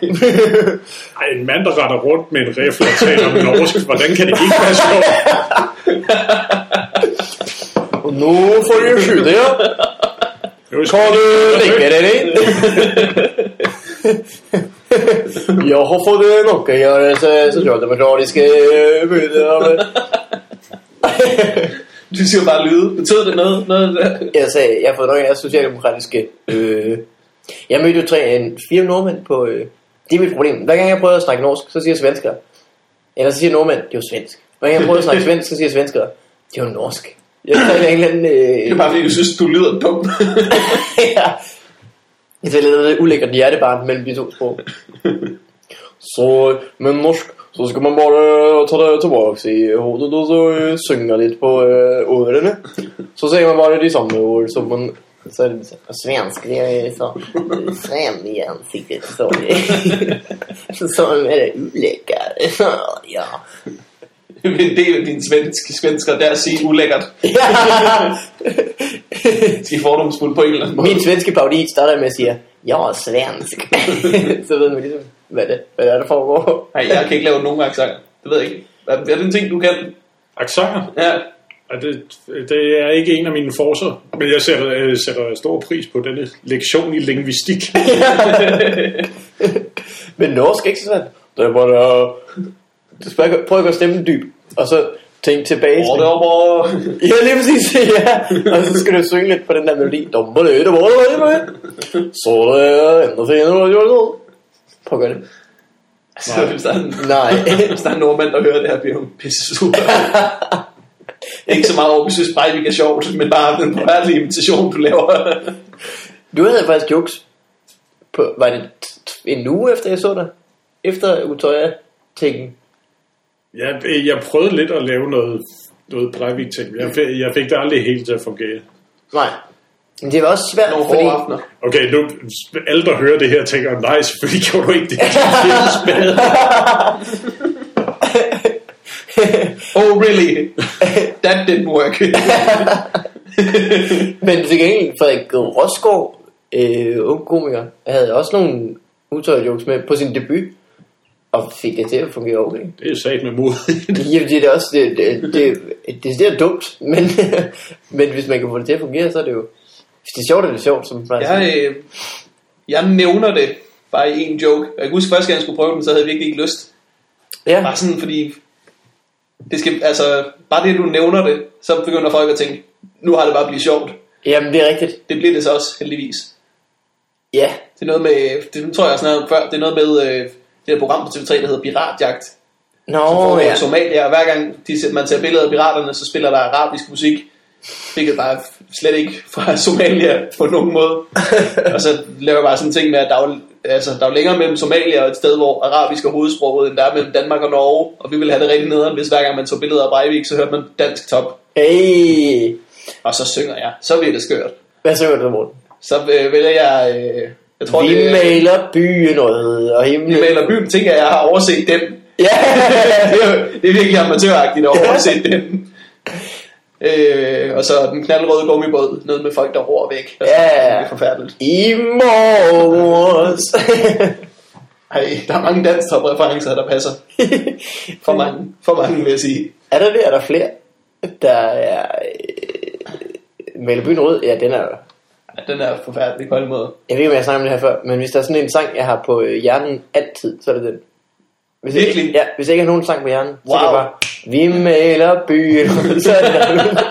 C: Ej, en mand, der retter rundt med en rifle og taler om norsk. Hvordan kan det ikke være sjovt?
B: Nu får du skyde, ja.
C: Det er jo
B: Kan du lægge
C: det?
B: dig ned? Jeg har fået nok at gøre så socialdemokratiske eh, budskaber.
A: Du siger bare lyde. Betød det noget? noget der?
B: Jeg sagde, jeg har fået nok af socialdemokratiske. Øh. Jeg mødte jo tre, en, fire nordmænd på... Øh. Det er mit problem. Hver gang jeg prøver at snakke norsk, så siger svensker. Eller så siger nordmænd, det er jo svensk. Hver gang jeg prøver at snakke svensk, så siger svensker, det er jo norsk. Jeg taler en eller anden...
A: Det er
B: Øh,
A: bare fordi, du synes, du lyder dum.
B: ja. Jeg taler lidt ulækkert hjertebarn mellem de to sprog. Så med norsk, så skal man bare øh, tage det tilbage i hovedet og så øh, synge lidt på øh, ørerne. Så siger man bare de samme ord som man... Så er det så. Svensk, det er jo så frem i ansiktet, så som er ulækkert. ja.
A: det er en del af din svenske svensker, der at sige ulækkert. De er fordomsfulde på en eller anden måde.
B: Min svenske parodi starter med at sige, jeg er svensk. så ved man ligesom, hvad det, hvad det er, der foregår.
A: Nej, jeg kan ikke lave nogen accent. Det ved jeg ikke. Er, er det en ting, du kan?
C: Aksanger.
A: Ja.
C: Og det, det er ikke en af mine forser, men jeg sætter, øh, sætter stor pris på denne lektion i lingvistik.
B: Men norsk er ikke sådan. Det er bare, øh, du skal bare prøv at gøre stemmen dyb, og så tænk tilbage.
A: Hvor er det op over?
B: Ja, lige præcis, ja. Og så skal du synge lidt på den der melodi. Dumper det, det var det, det var det. Så er det øh, endnu finere, det var det. Prøv at gøre det.
A: Altså, hvis der er en,
B: Nej.
A: hvis der er en nordmand, der hører det her, bliver hun pisse sur. ikke så meget over, vi synes Breivik er sjovt, men bare den forfærdelige imitation, du laver.
B: Du havde faktisk jokes på, var det t- t- en uge efter jeg så dig? Efter Utøya tingen
C: jeg, øh, jeg prøvede lidt at lave noget, noget Breivik-ting. Jeg, fik- jeg fik det aldrig helt til at fungere.
B: Nej. Men det var også svært,
A: Nogle
B: fordi...
A: hårde aftener.
C: Okay, nu, alle der hører det her tænker, nej, selvfølgelig gjorde du ikke det. Det er spændende.
A: Oh, really? That didn't work.
B: Men til gengæld, Frederik Rosgaard, øh, ung komiker, havde også nogle Utøya jokes med på sin debut. Og fik det til at fungere okay.
C: Det er sat med mod.
B: Jamen, det er da også det, det, det, det, det er dumt, men, men hvis man kan få det til at fungere, så er det jo... Hvis det er sjovt, er det sjovt, som man
A: jeg, øh, jeg nævner det bare i en joke. Jeg kan huske, første gang jeg skulle prøve den, så havde jeg virkelig ikke lyst.
B: ja.
A: Bare sådan, fordi... Det skal, altså, bare det, du nævner det, så begynder folk at tænke, nu har det bare blivet sjovt.
B: Jamen, det er rigtigt.
A: Det bliver det så også, heldigvis.
B: Ja,
A: Det er noget med, det tror jeg også snakket om før, det er noget med øh, det der program på TV3, der hedder Piratjagt.
B: Nå,
A: Oh,
B: ja.
A: ja. Somalia, og hver gang de, man tager billeder af piraterne, så spiller der arabisk musik. Hvilket bare f- slet ikke fra Somalia på nogen måde. og så laver jeg bare sådan en ting med, at der er, jo- altså, der er jo længere mellem Somalia og et sted, hvor arabisk er hovedsproget, end der er mellem Danmark og Norge. Og vi ville have det rigtig nederen, hvis hver gang man tog billeder af Breivik, så hørte man dansk top.
B: Hey.
A: Og så synger jeg. Så bliver det skørt.
B: Hvad synger du, Morten?
A: Så øh, vælger jeg... Øh, jeg tror,
B: Vi
A: det,
B: maler byen rød og himlen.
A: Vi maler byen, tænker jeg, jeg har overset den.
B: Ja,
A: det, er, jo- det er virkelig amatøragtigt at overse den. Øh, og så den knaldrøde gummibåd ned med folk, der roer væk. Altså,
B: Ja.
A: Det er forfærdeligt.
B: i morges.
A: Ej, der er mange danstop-referencer, der passer. For mange, for mange vil jeg sige.
B: er der det? Er der flere? Der er... Øh, maler byen rød? Ja, den er jo...
A: Ja, den er forfærdelig på en måde.
B: Jeg ved ikke, om jeg snakker om det her før, men hvis der er sådan en sang, jeg har på øh, hjernen altid, så er det den. Hvis jeg,
A: Virkelig?
B: ikke- ja, hvis jeg ikke har nogen sang på hjernen, wow. så er
A: Wow.
B: det bare, vi maler byen, så er det der.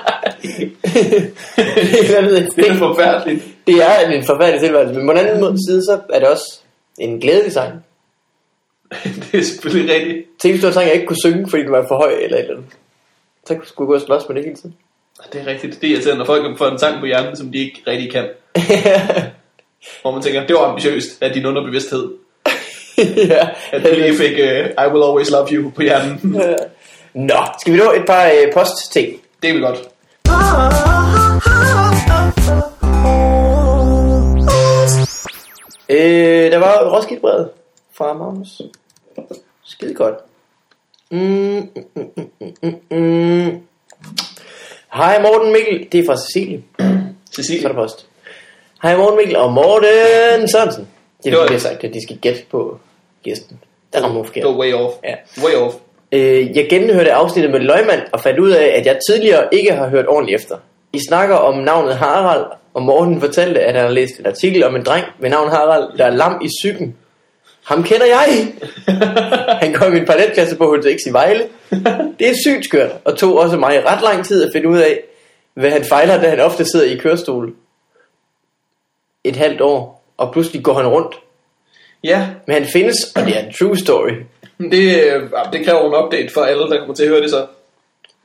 B: Jeg ved ikke,
A: Det er forfærdeligt.
B: det er en forfærdelig tilværelse, men på den anden måde side, så er det også en glædelig sang.
A: det er selvfølgelig rigtigt.
B: Tænk, hvis det var en sang, jeg ikke kunne synge, fordi den var for høj eller et eller andet. Så skulle jeg gå og slås med det hele tiden.
A: Det er rigtigt. Det er irriterende, når folk får en sang på hjernen, som de ikke rigtig kan. Hvor man tænker, det var ambitiøst af din underbevidsthed.
B: ja.
A: At du lige fik øh, I Will Always Love You på hjernen.
B: Nå, skal vi nå et par øh, postting?
A: Det er vel godt.
B: Øh, der var Roskildebrevet fra Magnus. Skide godt. Mm, mm, mm, mm, mm, mm. Hej Morten Mikkel, det er fra Cecilie fra
A: Cecilie.
B: der post. Hej Morten Mikkel og Morten Sørensen. Det
A: Jo,
B: er fordi,
A: ja.
B: jeg har sagt, at de skal gætte på gæsten. Der rammer hun forkert.
A: Det var way off.
B: Ja.
A: Way off.
B: Øh, jeg genhørte afsnittet med Løgmand og fandt ud af, at jeg tidligere ikke har hørt ordentligt efter. I snakker om navnet Harald, og Morten fortalte, at han har læst en artikel om en dreng ved navn Harald, der er lam i psyken. Ham kender jeg! Han kom i en paletklasse på HTX i Vejle. Det er sygt skørt, og tog også mig ret lang tid at finde ud af, hvad han fejler, da han ofte sidder i kørestol. Et halvt år, og pludselig går han rundt.
A: Ja,
B: Men han findes, og det er en true story.
A: men det, øh, det kræver en update for alle, der kommer til at høre det så.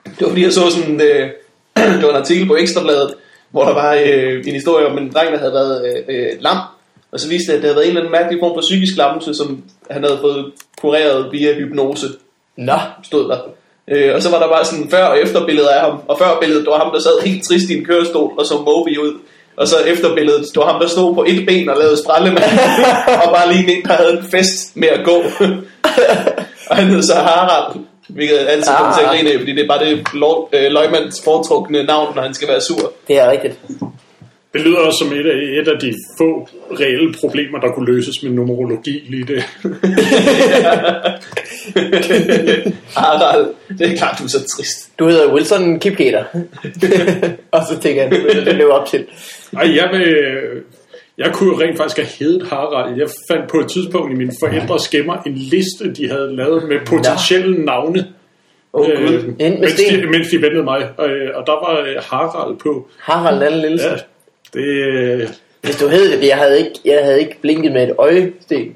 A: Det var fordi, jeg så sådan, øh, det var en artikel på Ekstrabladet, hvor der var øh, en historie om en dreng, der havde været øh, øh, lam. Og så viste det, at det havde været en eller anden mærkelig form for psykisk lammelse, som han havde fået kureret via hypnose,
B: Nå,
A: stod der. Øh, og så var der bare sådan før- og efterbillede af ham. Og før billedet, det var ham, der sad helt trist i en kørestol og så Moby ud. Og så efterbilledet, det var ham, der stod på et ben og lavede sprællemand. og bare lige en, der havde en fest med at gå. og han hed så Harald. Hvilket jeg altid kommer
B: Ah.
A: til at grine af, fordi det er bare det lov, øh, løgmands foretrukne navn, når han skal være sur.
B: det er rigtigt.
C: Det lyder også som et af, et af de få reelle problemer, der kunne løses med numerologi lige det.
A: Harald, det er klart, du er så trist.
B: Du hedder Wilson Kipketer. og så tænker jeg, det vil jeg leve op til.
C: Ej, jeg, vil, jeg kunne jo rent faktisk have heddet Harald. Jeg fandt på et tidspunkt i mine forældres skæmmer en liste, de havde lavet med potentielle navne,
A: Åh, oh,
C: øh,
A: gud.
B: Ind med
C: mens, de,
B: sten.
C: mens de ventede mig. Og, øh, og der var øh, Harald på.
B: Harald Lalle Nielsen.
C: Ja,
B: Ja.
C: det, øh,
B: Hvis du hed det, jeg havde ikke, jeg havde ikke blinket med et øje, Sten.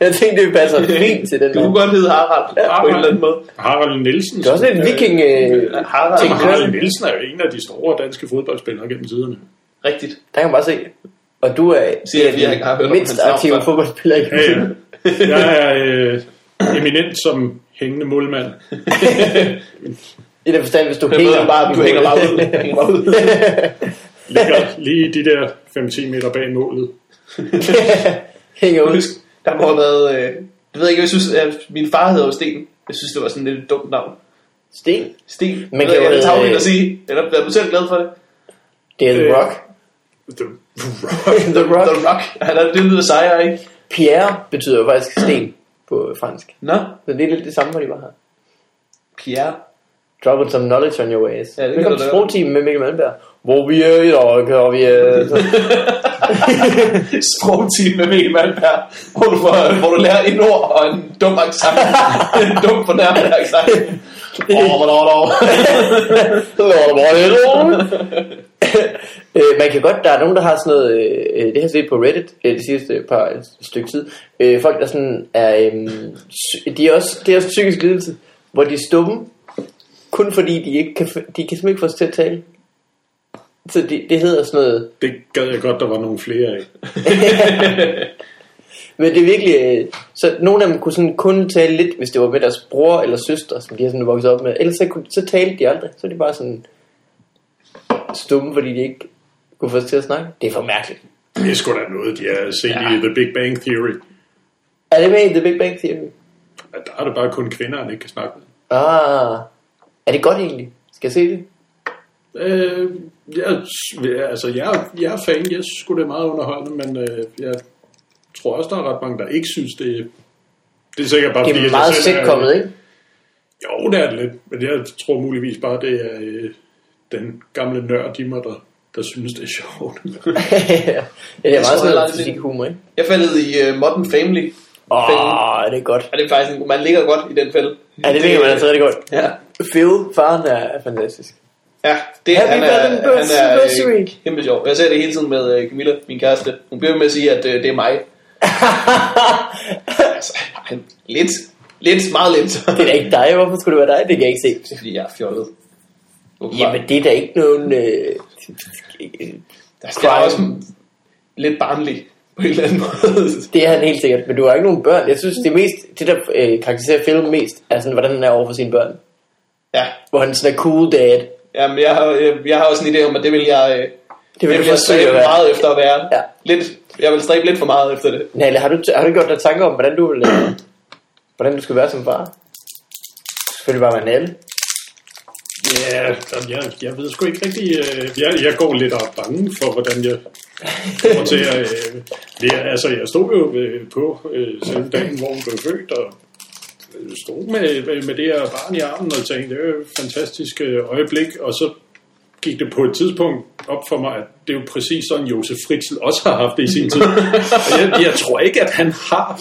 B: jeg tænkte, det passer fint til den
A: Du kunne
B: mand.
A: godt hedde Harald, ja, på en
C: Harald.
A: eller anden måde.
C: Harald Nielsen.
B: Det er også lidt en viking... Øh,
A: Harald,
B: Tænk-
A: Tænk.
C: Jamen, Harald Nielsen er jo en af de store danske fodboldspillere gennem tiderne.
A: rigtigt.
B: der kan man bare se. Og du er
A: Siger jeg, fordi jeg ikke har hørt om
B: mindst
A: hans navn
B: aktive
A: før.
B: fodboldspiller i
C: Ja, ja.
B: verden.
C: Jeg er øh, eminent som hængende målmand.
B: I den forstand, hvis du
A: Jeg ved
B: hænger
A: bare, du hænger bare ud. Du hænger bare ud.
C: Ligger lige de der 5-10 meter bag målet.
B: hænger
A: Jeg
B: ud.
A: husker, der må have været... Øh, jeg ved ikke, jeg synes, at min far hedder jo Sten. Jeg synes, det var sådan et lidt dumt navn.
B: Sten.
A: Sten.
B: Men
A: Men
B: kan
A: kan
B: jo
A: jeg
B: hedde,
A: tager det
B: øh,
A: at sige. Eller er du selv glad for det?
B: Det er The
C: Øh.
B: Rock.
C: Det-
B: The Rock.
A: The Rock. Han er det lyder sejere, ikke?
B: Pierre betyder jo faktisk sten på fransk.
A: Nå,
B: Så det er lidt det samme, hvor de var her.
A: Pierre.
B: Dropping some knowledge on your ass.
A: Ja, det kan
B: Velkommen
A: du
B: til
A: da.
B: sprogteamen med Mikkel Malmberg. Hvor vi er i dag, og vi er... Så-
A: Sprogteam med Mikkel Malmberg, hvor du, får, hvor du lærer et ord og en dum accent. en dum fornærmende accent. Åh, hvor dog, dog.
B: Så var der bare lidt Øh, Man kan godt, der er nogen, der har sådan noget, øh, øh, det har jeg set på Reddit øh, det sidste par et stykke tid, øh, folk der sådan er, øh, de er også, det er også psykisk lidelse, hvor de er stumme, kun fordi de ikke kan, f- de kan simpelthen ikke få os til at tale. Så de, det hedder sådan noget,
C: Det gad jeg godt, der var nogle flere af.
B: men det er virkelig, øh, så nogle af dem kunne sådan kun tale lidt, hvis det var med deres bror eller søster, som de har sådan vokset op med, ellers så, kunne, så talte de aldrig, så er de bare sådan stumme, fordi de ikke kunne få os til at snakke. Det er for mærkeligt.
C: Det er sgu da noget, de har set ja. i The Big Bang Theory.
B: Er det med i The Big Bang Theory?
C: At der er det bare kun kvinder, han ikke kan snakke med.
B: Ah, er det godt egentlig? Skal jeg se det?
C: Øh, jeg, altså, jeg, jeg er fan. Jeg synes sgu, det er meget underholdende, men øh, jeg tror også, der er ret mange, der ikke synes, det er... Det er sikkert bare,
B: Det
C: fordi
B: er
C: jeg
B: meget
C: selv er-
B: sitcomet, ikke?
C: Jo, det er det lidt, men jeg tror muligvis bare, det er øh, den gamle nørd i mig, der, der synes, det er sjovt.
B: ja, det er
A: tror,
B: meget
A: jeg har
B: sådan
A: set det.
B: fysik humor, ikke?
A: Jeg faldet i uh, Modern Family.
B: Åh,
A: Fælden.
B: oh, er det godt.
A: Og det er faktisk en, man ligger godt i den fælde.
B: Ja, det ligger man altså rigtig godt.
A: Ja.
B: Phil, faren er er fantastisk.
A: Ja, det
B: Happy
A: han er,
B: birthday,
A: han er
B: anniversary.
A: øh, kæmpe sjov. Jeg ser det hele tiden med øh, Camilla, min kæreste. Hun bliver ved med at sige, at øh, det er mig. altså, han, lidt, lidt, meget lidt.
B: Det er da ikke dig, hvorfor skulle det være dig? Det kan jeg ikke se.
A: det er fordi, jeg er fjollet. Åbenbart.
B: Jamen, det er da ikke nogen... Øh,
A: altså, jeg er også lidt barnlig på en eller anden måde.
B: det er han helt sikkert, men du har ikke nogen børn. Jeg synes, det, mest, det der øh, karakteriserer Phil mest, er sådan, hvordan han er over for sine børn.
A: ja,
B: Hvor han sådan er cool dad.
A: jamen, jeg, har, jeg, jeg har også en idé om, at det vil jeg, øh,
B: Det vil
A: jeg
B: du
A: vil jeg
B: forsøge at
A: stræbe
B: være.
A: meget efter at være.
B: Ja.
A: Lidt, jeg vil stræbe lidt for meget efter det.
B: Nalle, har du, har du gjort dig tanker om, hvordan du, vil, øh, hvordan du skal være som far? Selvfølgelig bare være Nalle.
C: Ja, yeah, jeg, jeg ved sgu ikke rigtig... Øh, jeg, jeg går lidt og er bange for, hvordan jeg kommer til at... Øh, det, er- altså, jeg stod jo øh, på øh, selve dagen, hvor hun blev født, og øh, stod med, med, med det her barn i armen og tænkte, det er jo et fantastisk øh, øjeblik, og så gik det på et tidspunkt op for mig, at det er jo præcis sådan, Josef Fritzl også har haft det i sin tid. Og jeg, jeg tror ikke, at han har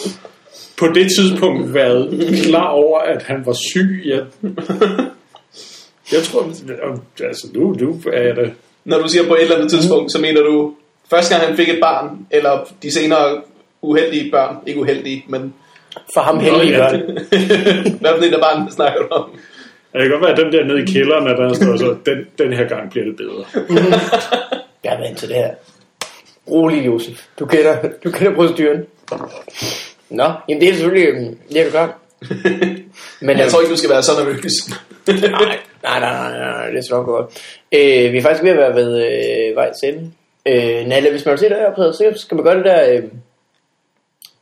C: på det tidspunkt været klar over, at han var syg. Jeg, jeg tror, altså nu, nu er jeg da
A: Når du siger på et eller
B: Mm.
A: andet tidspunkt, så mener du første gang han fik et barn, eller de senere uheldige børn, ikke uheldige, men
B: For ham heldig
C: ja,
B: gør
C: det-
B: det.
A: hvad for en af barn snakker du om?
C: Jeg kan godt være, at den der nede i kælderen, at der står så, den, den her gang bliver det bedre.
B: Jeg er vant til det her. Rolig, Josef. Du kender, du kender proceduren. Nå, jamen det er selvfølgelig, øhm, det er du gør. Men øh,
A: Jeg tror ikke, du skal være så nervøs.
B: nej, nej, nej, nej, nej, det skal nok gå godt. Øh, vi er faktisk ved at være ved øh, vejs ende. Øh, Nalle, hvis man vil se dig her, så skal man gøre det der øh,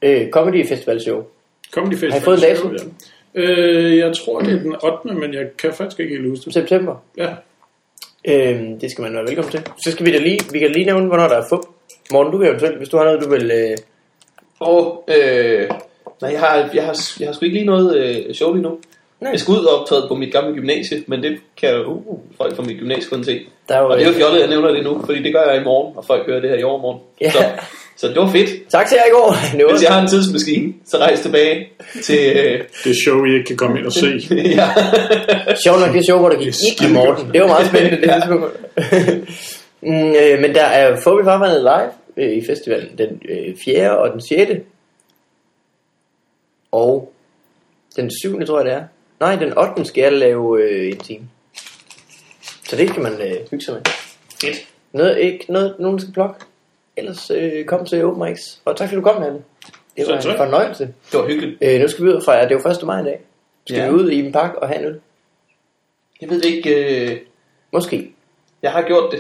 B: øh, Comedy Festival Show.
C: Comedy Festival.
B: Har I fået en dato?
C: Ja. Øh, jeg tror, det er den 8., men jeg kan faktisk ikke helt huske det.
B: September.
C: Ja.
B: Øhm, det skal man være velkommen til. Så skal vi da lige, vi kan lige nævne, hvornår der er fup. Morten, du kan eventuelt, hvis du har noget, du vil... Øh,
A: Og, øh, nej, jeg har, jeg, har, jeg har sgu ikke lige noget øh, show lige nu.
B: Nej.
A: Nej. Jeg skal ud og optræde på mit gamle gymnasie, men det kan jo uh, folk fra mit gymnasie kun se.
B: der er jo,
A: Og det er jo
B: øh,
A: fjollet, jeg nævner det nu, fordi det gør jeg i morgen, og folk hører det her i overmorgen.
B: Ja.
A: Så, så det var fedt.
B: tak til jer i går. Det var-
A: Hvis jeg har en tidsmaskine, så rejs tilbage til... Øh,
C: Det er show, I ikke kan komme ind og se.
A: ja.
B: Sjovt nok, det show, hvor der gik
C: Det er
B: ikke i Morten. Det var meget spændende, det
A: Ja.
B: tidspunkt. mm, øh, men der er Fobi Farvandet live øh, i festivalen den øh, 4. og den 6. Og den 7. tror jeg, det er. Nej, den 8. skal jeg lave øh, en time. Så det kan man øh, hygge sig med.
A: Fedt.
B: Noget, ikke noget, nogen skal plukke. Ellers øh, kom til Open Mics. Og tak fordi du kom, Hanne. Det var
C: Selv
B: en
C: tak.
B: fornøjelse.
A: Det var hyggeligt.
B: Øh, nu skal vi ud fra, det er jo 1. maj i dag. Skal
A: Ja.
B: vi ud i en park og have en øl?
A: Jeg ved det ikke, øh,
B: Måske.
A: jeg har gjort det.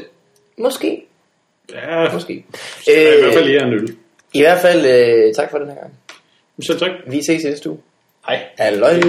B: Måske.
C: Ja,
B: Måske.
C: øh, i hvert fald jer en øl.
B: I hvert fald, øh, tak for den her gang.
C: Selv tak.
B: Vi ses i næste uge.
A: Hej.
B: Halløj.